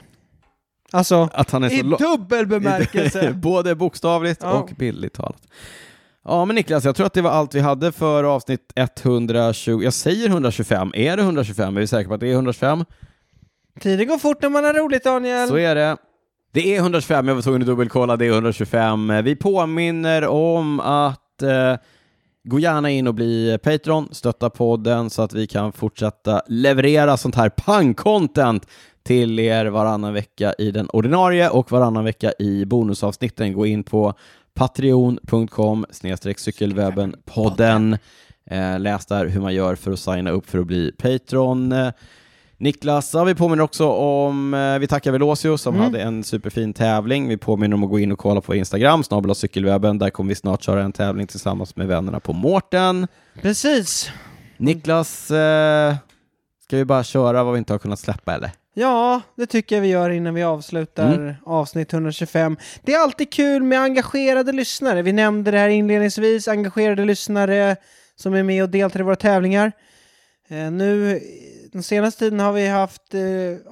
Alltså, Att han är i så lo- dubbel bemärkelse. Både bokstavligt Ja. och bildligt talat. Ja, men Niklas, jag tror att det var allt vi hade för avsnitt 120. Jag säger 125. Är det 125? Är vi säkra på att det är 125? Tiden går fort när man har roligt Daniel. Så är det. Det är 125, jag var tvungen att dubbelkolla, det är 125. Vi påminner om att eh, gå gärna in och bli Patreon, stötta podden så att vi kan fortsätta leverera sånt här pang-content till er varannan vecka i den ordinarie och varannan vecka i bonusavsnitten. Gå in på patreon.com cykelwebbenpodden. Eh, läs där hur man gör för att signa upp för att bli Patreon. Eh, Niklas, ja, vi påminner också om, eh, vi tackar Velosio som Mm. hade en superfin tävling. Vi påminner om att gå in och kolla på Instagram, snabel cykelwebben. Där kommer vi snart köra en tävling tillsammans med vännerna på Mårten. Precis. Niklas, eh, ska vi bara köra vad vi inte har kunnat släppa eller? Ja, det tycker jag vi gör innan vi avslutar avsnitt 125. Det är alltid kul med engagerade lyssnare. Vi nämnde det här inledningsvis, engagerade lyssnare som är med och deltar i våra tävlingar. Eh, nu, eh, den senaste tiden har vi haft, eh,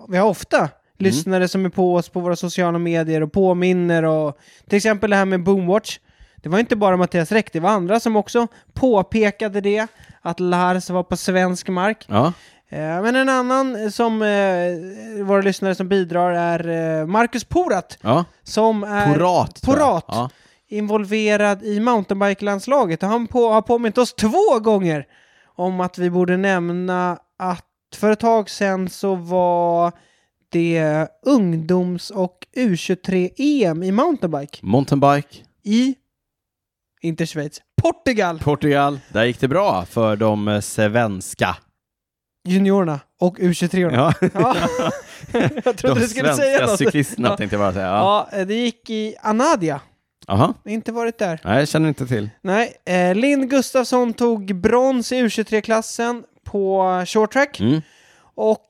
vi har ofta lyssnare som är på oss på våra sociala medier och påminner och till exempel det här med Boomwatch. Det var inte bara Mattias Räck, det var andra som också påpekade det, att Lars var på svensk mark. Ja. Eh, Men en annan eh, som eh, våra lyssnare som bidrar är eh, Marcus Porat ja. som är Eh, Porat. tror jag. Porat. Ja. involverad i mountainbike-landslaget och han på, har påmint oss två gånger om att vi borde nämna att för ett tag sedan så var det ungdoms och U23-EM i mountainbike Mountainbike, i, inte Schweiz, Portugal, Portugal. Där gick det bra för de eh, svenska. juniorerna och U23-orna. Ja. Ja. Jag trodde De du skulle säga svenska något. cyklisterna Ja. tänkte jag bara säga. Ja. Ja, eh, det gick i Anadia. Aha. Jag har Inte varit där. Nej, jag känner inte till. Nej, eh, Lind Gustafsson tog brons i U23-klassen på short track. Mm. Och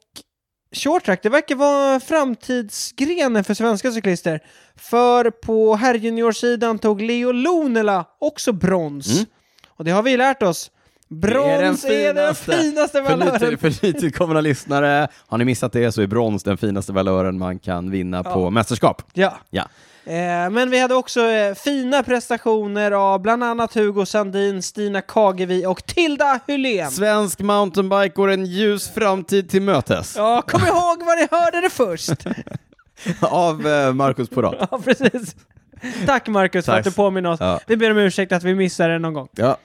short track, det verkar vara framtidsgrenen för svenska cyklister. För på herrjuniorsidan tog Leo Lonela också brons. Mm. Och det har vi lärt oss. Brons är den finaste. finaste För, valören. nytill, för nytillkomna lyssnare, har ni missat det så är brons den finaste valören man kan vinna Ja. på mästerskap. Ja. Ja. Eh, men vi hade också eh, fina prestationer av bland annat Hugo Sandin, Stina Kagevi och Tilda Hylén. Svensk mountainbike går en ljus framtid till mötes Ja, kom ihåg var ni hörde det först! av eh, Marcus Porat. ja, precis. Tack Marcus för Tack. att du påminner oss. Ja. Vi ber om ursäkt att vi missade det någon gång. Ja.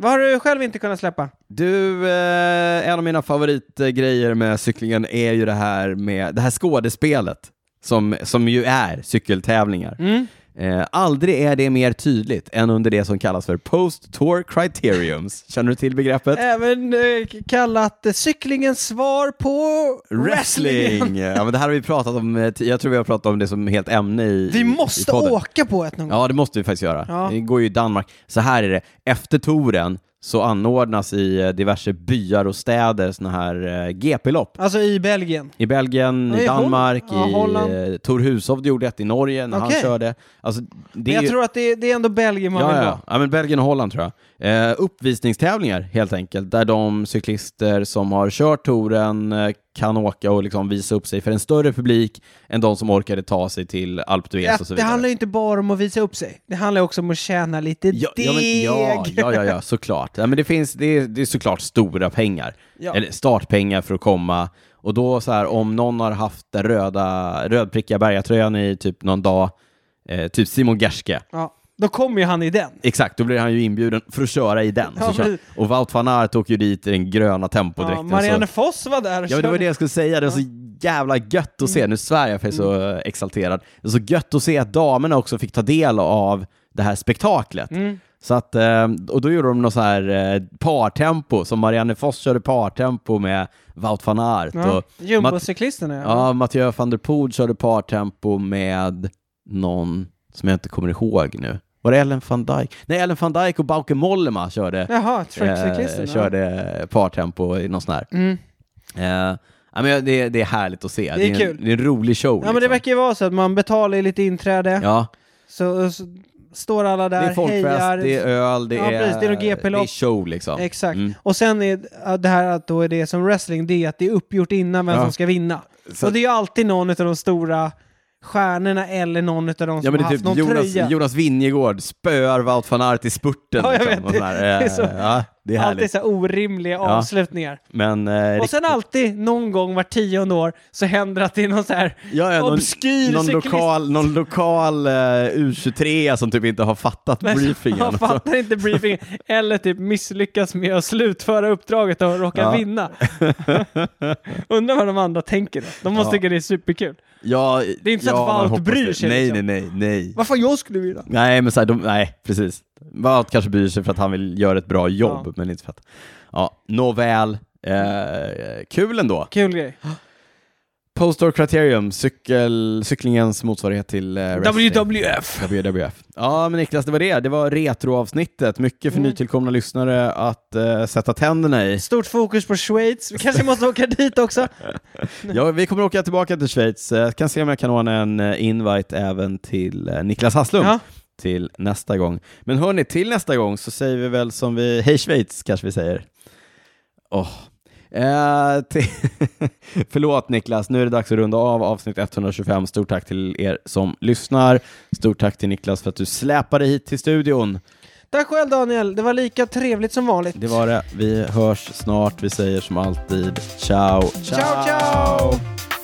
Vad har du själv inte kunnat släppa? Du, eh, en av mina favoritgrejer med cyklingen är ju det här med det här skådespelet som, som ju är cykeltävlingar. Mm. Eh, aldrig är det mer tydligt än under det som kallas för post-tour criteriums. Känner du till begreppet? Även eh, kallat eh, cyklingens svar på wrestling. Wrestling! Ja, men det här har vi pratat om, eh, ti- jag tror vi har pratat om det som helt ämne i Vi i måste podden. åka på ett någon gång. Ja, det måste vi faktiskt göra. Ja. Det går ju i Danmark. Så här är det, efter touren så anordnas i eh, diverse byar och städer såna här eh, GP-lopp. Alltså i Belgien. I Belgien, Ja, i i Hol- Danmark, ja, Holland. i eh, Thor Hushov gjorde ett i Norge när han Okej. körde. Alltså, det Men är jag ju- tror att det är, det är ändå Belgien man ja, vill ja, ha. ja. ja, men Belgien och Holland tror jag. Eh, uppvisningstävlingar helt enkelt, där de cyklister som har kört touren eh, kan åka och liksom visa upp sig för en större publik än de som orkade ta sig till Alpe d'Huez och så det vidare. handlar ju inte bara om att visa upp sig. Det handlar också om att tjäna lite Ja, deg. ja, men, ja, ja, ja, ja, såklart. Ja, men det, finns, det, är, det är såklart stora pengar, Ja. eller startpengar för att komma. Och då så här, om någon har haft den röda, rödprickiga bergatröjan i typ någon dag, eh, typ Simon Gerske, Ja, Då kommer ju han i den. Exakt, då blir han ju inbjuden för att köra i den. Ja, så kör, precis. och Wout van Aert åker ju dit i den gröna Ja, tempodräkten. Marianne så, Foss var där och ja, men det var körde. Mm. det jag skulle säga, det var så jävla gött att se. Nu svär jag för jag är så eh, exalterad. Det är så gött att se att damerna också fick ta del av det här Mm. spektaklet. Så att, eh, och då gjorde de något så här eh, partempo, som Marianne Foss körde partempo med Wout van Aert. Ja, Och Matt- Jumbocyklisterna Ja, Mathieu van der Poel körde partempo med någon som jag inte kommer ihåg nu. Var det Ellen van Dijk? Nej, Ellen van Dijk och Bauke Mollema körde, Jaha, trackcyklisterna. eh, körde partempo i någon sån här. Mm. Eh, ja, men jag- det, det är härligt att se. är en, kul. det är en rolig show. Ja men det liksom. verkar ju vara så att man betalar ju lite inträde, Ja, så, så står alla det där, är folkfest, hejar. det är öl, det Ja, är, precis, det är något GP-lopp. det är show liksom. Exakt. Mm. Och sen är ja, det här att då är det som wrestling, det är att det är uppgjort innan vem Ja. som ska vinna. Så- Och det är ju alltid någon av de stora stjärnorna eller någon av de som Ja, men det har är haft någon typ Jonas, tröja. Jonas Vingegård spöar Wout van Aert i spurten. Ja, jag liksom, vet, och sån här. det- det är Eh, så- ja, det är alltid härligt. så här orimliga avslutningar. Men, eh, Och riktigt- sen alltid, någon gång var tionde år, så händer att det är någon så här Ja, ja, obskyr någon, någon cyklist. lokal, någon lokal eh, U23 som typ inte har fattat Men briefingen. alltså. Han fattar inte briefingen. Eller typ misslyckas med att slutföra uppdraget och råka Ja. vinna. Undrar vad de andra tänker då. De måste Ja. tycka det är superkul. ja, Det är inte så ja, att man Wout hoppas bryr det. sig, Nej, liksom. nej, nej, nej. Varför jag skulle vinna? Nej, men så här, de, nej, precis. Wout kanske bryr sig för att han vill göra ett bra jobb, Ja. men inte för att... Ja, nåväl. Eh, kul ändå. Kul grej. Postor Criterium, cykel, cyklingens motsvarighet till eh, wrestling. WWF. WWF. Ja, men Niklas, det var det. Det var retroavsnittet. Mycket för Mm. nytillkomna lyssnare att eh, sätta tänderna i. Stort fokus på Schweiz. Vi kanske måste åka dit också. Ja, vi kommer åka tillbaka till Schweiz. Eh, kan se om jag kan ordna en eh, invite även till eh, Niklas Hasslum Ja. till nästa gång. Men hörni, till nästa gång så säger vi väl som vi, hej Schweiz kanske vi säger. Åh. Eh, till- Förlåt Niklas, nu är det dags att runda av avsnitt 125. Stort tack till er som lyssnar. Stort tack till Niklas för att du släpade hit till studion. Tack själv Daniel. Det var lika trevligt som vanligt. Det var det. Vi hörs snart. Vi säger som alltid, ciao, ciao! ciao.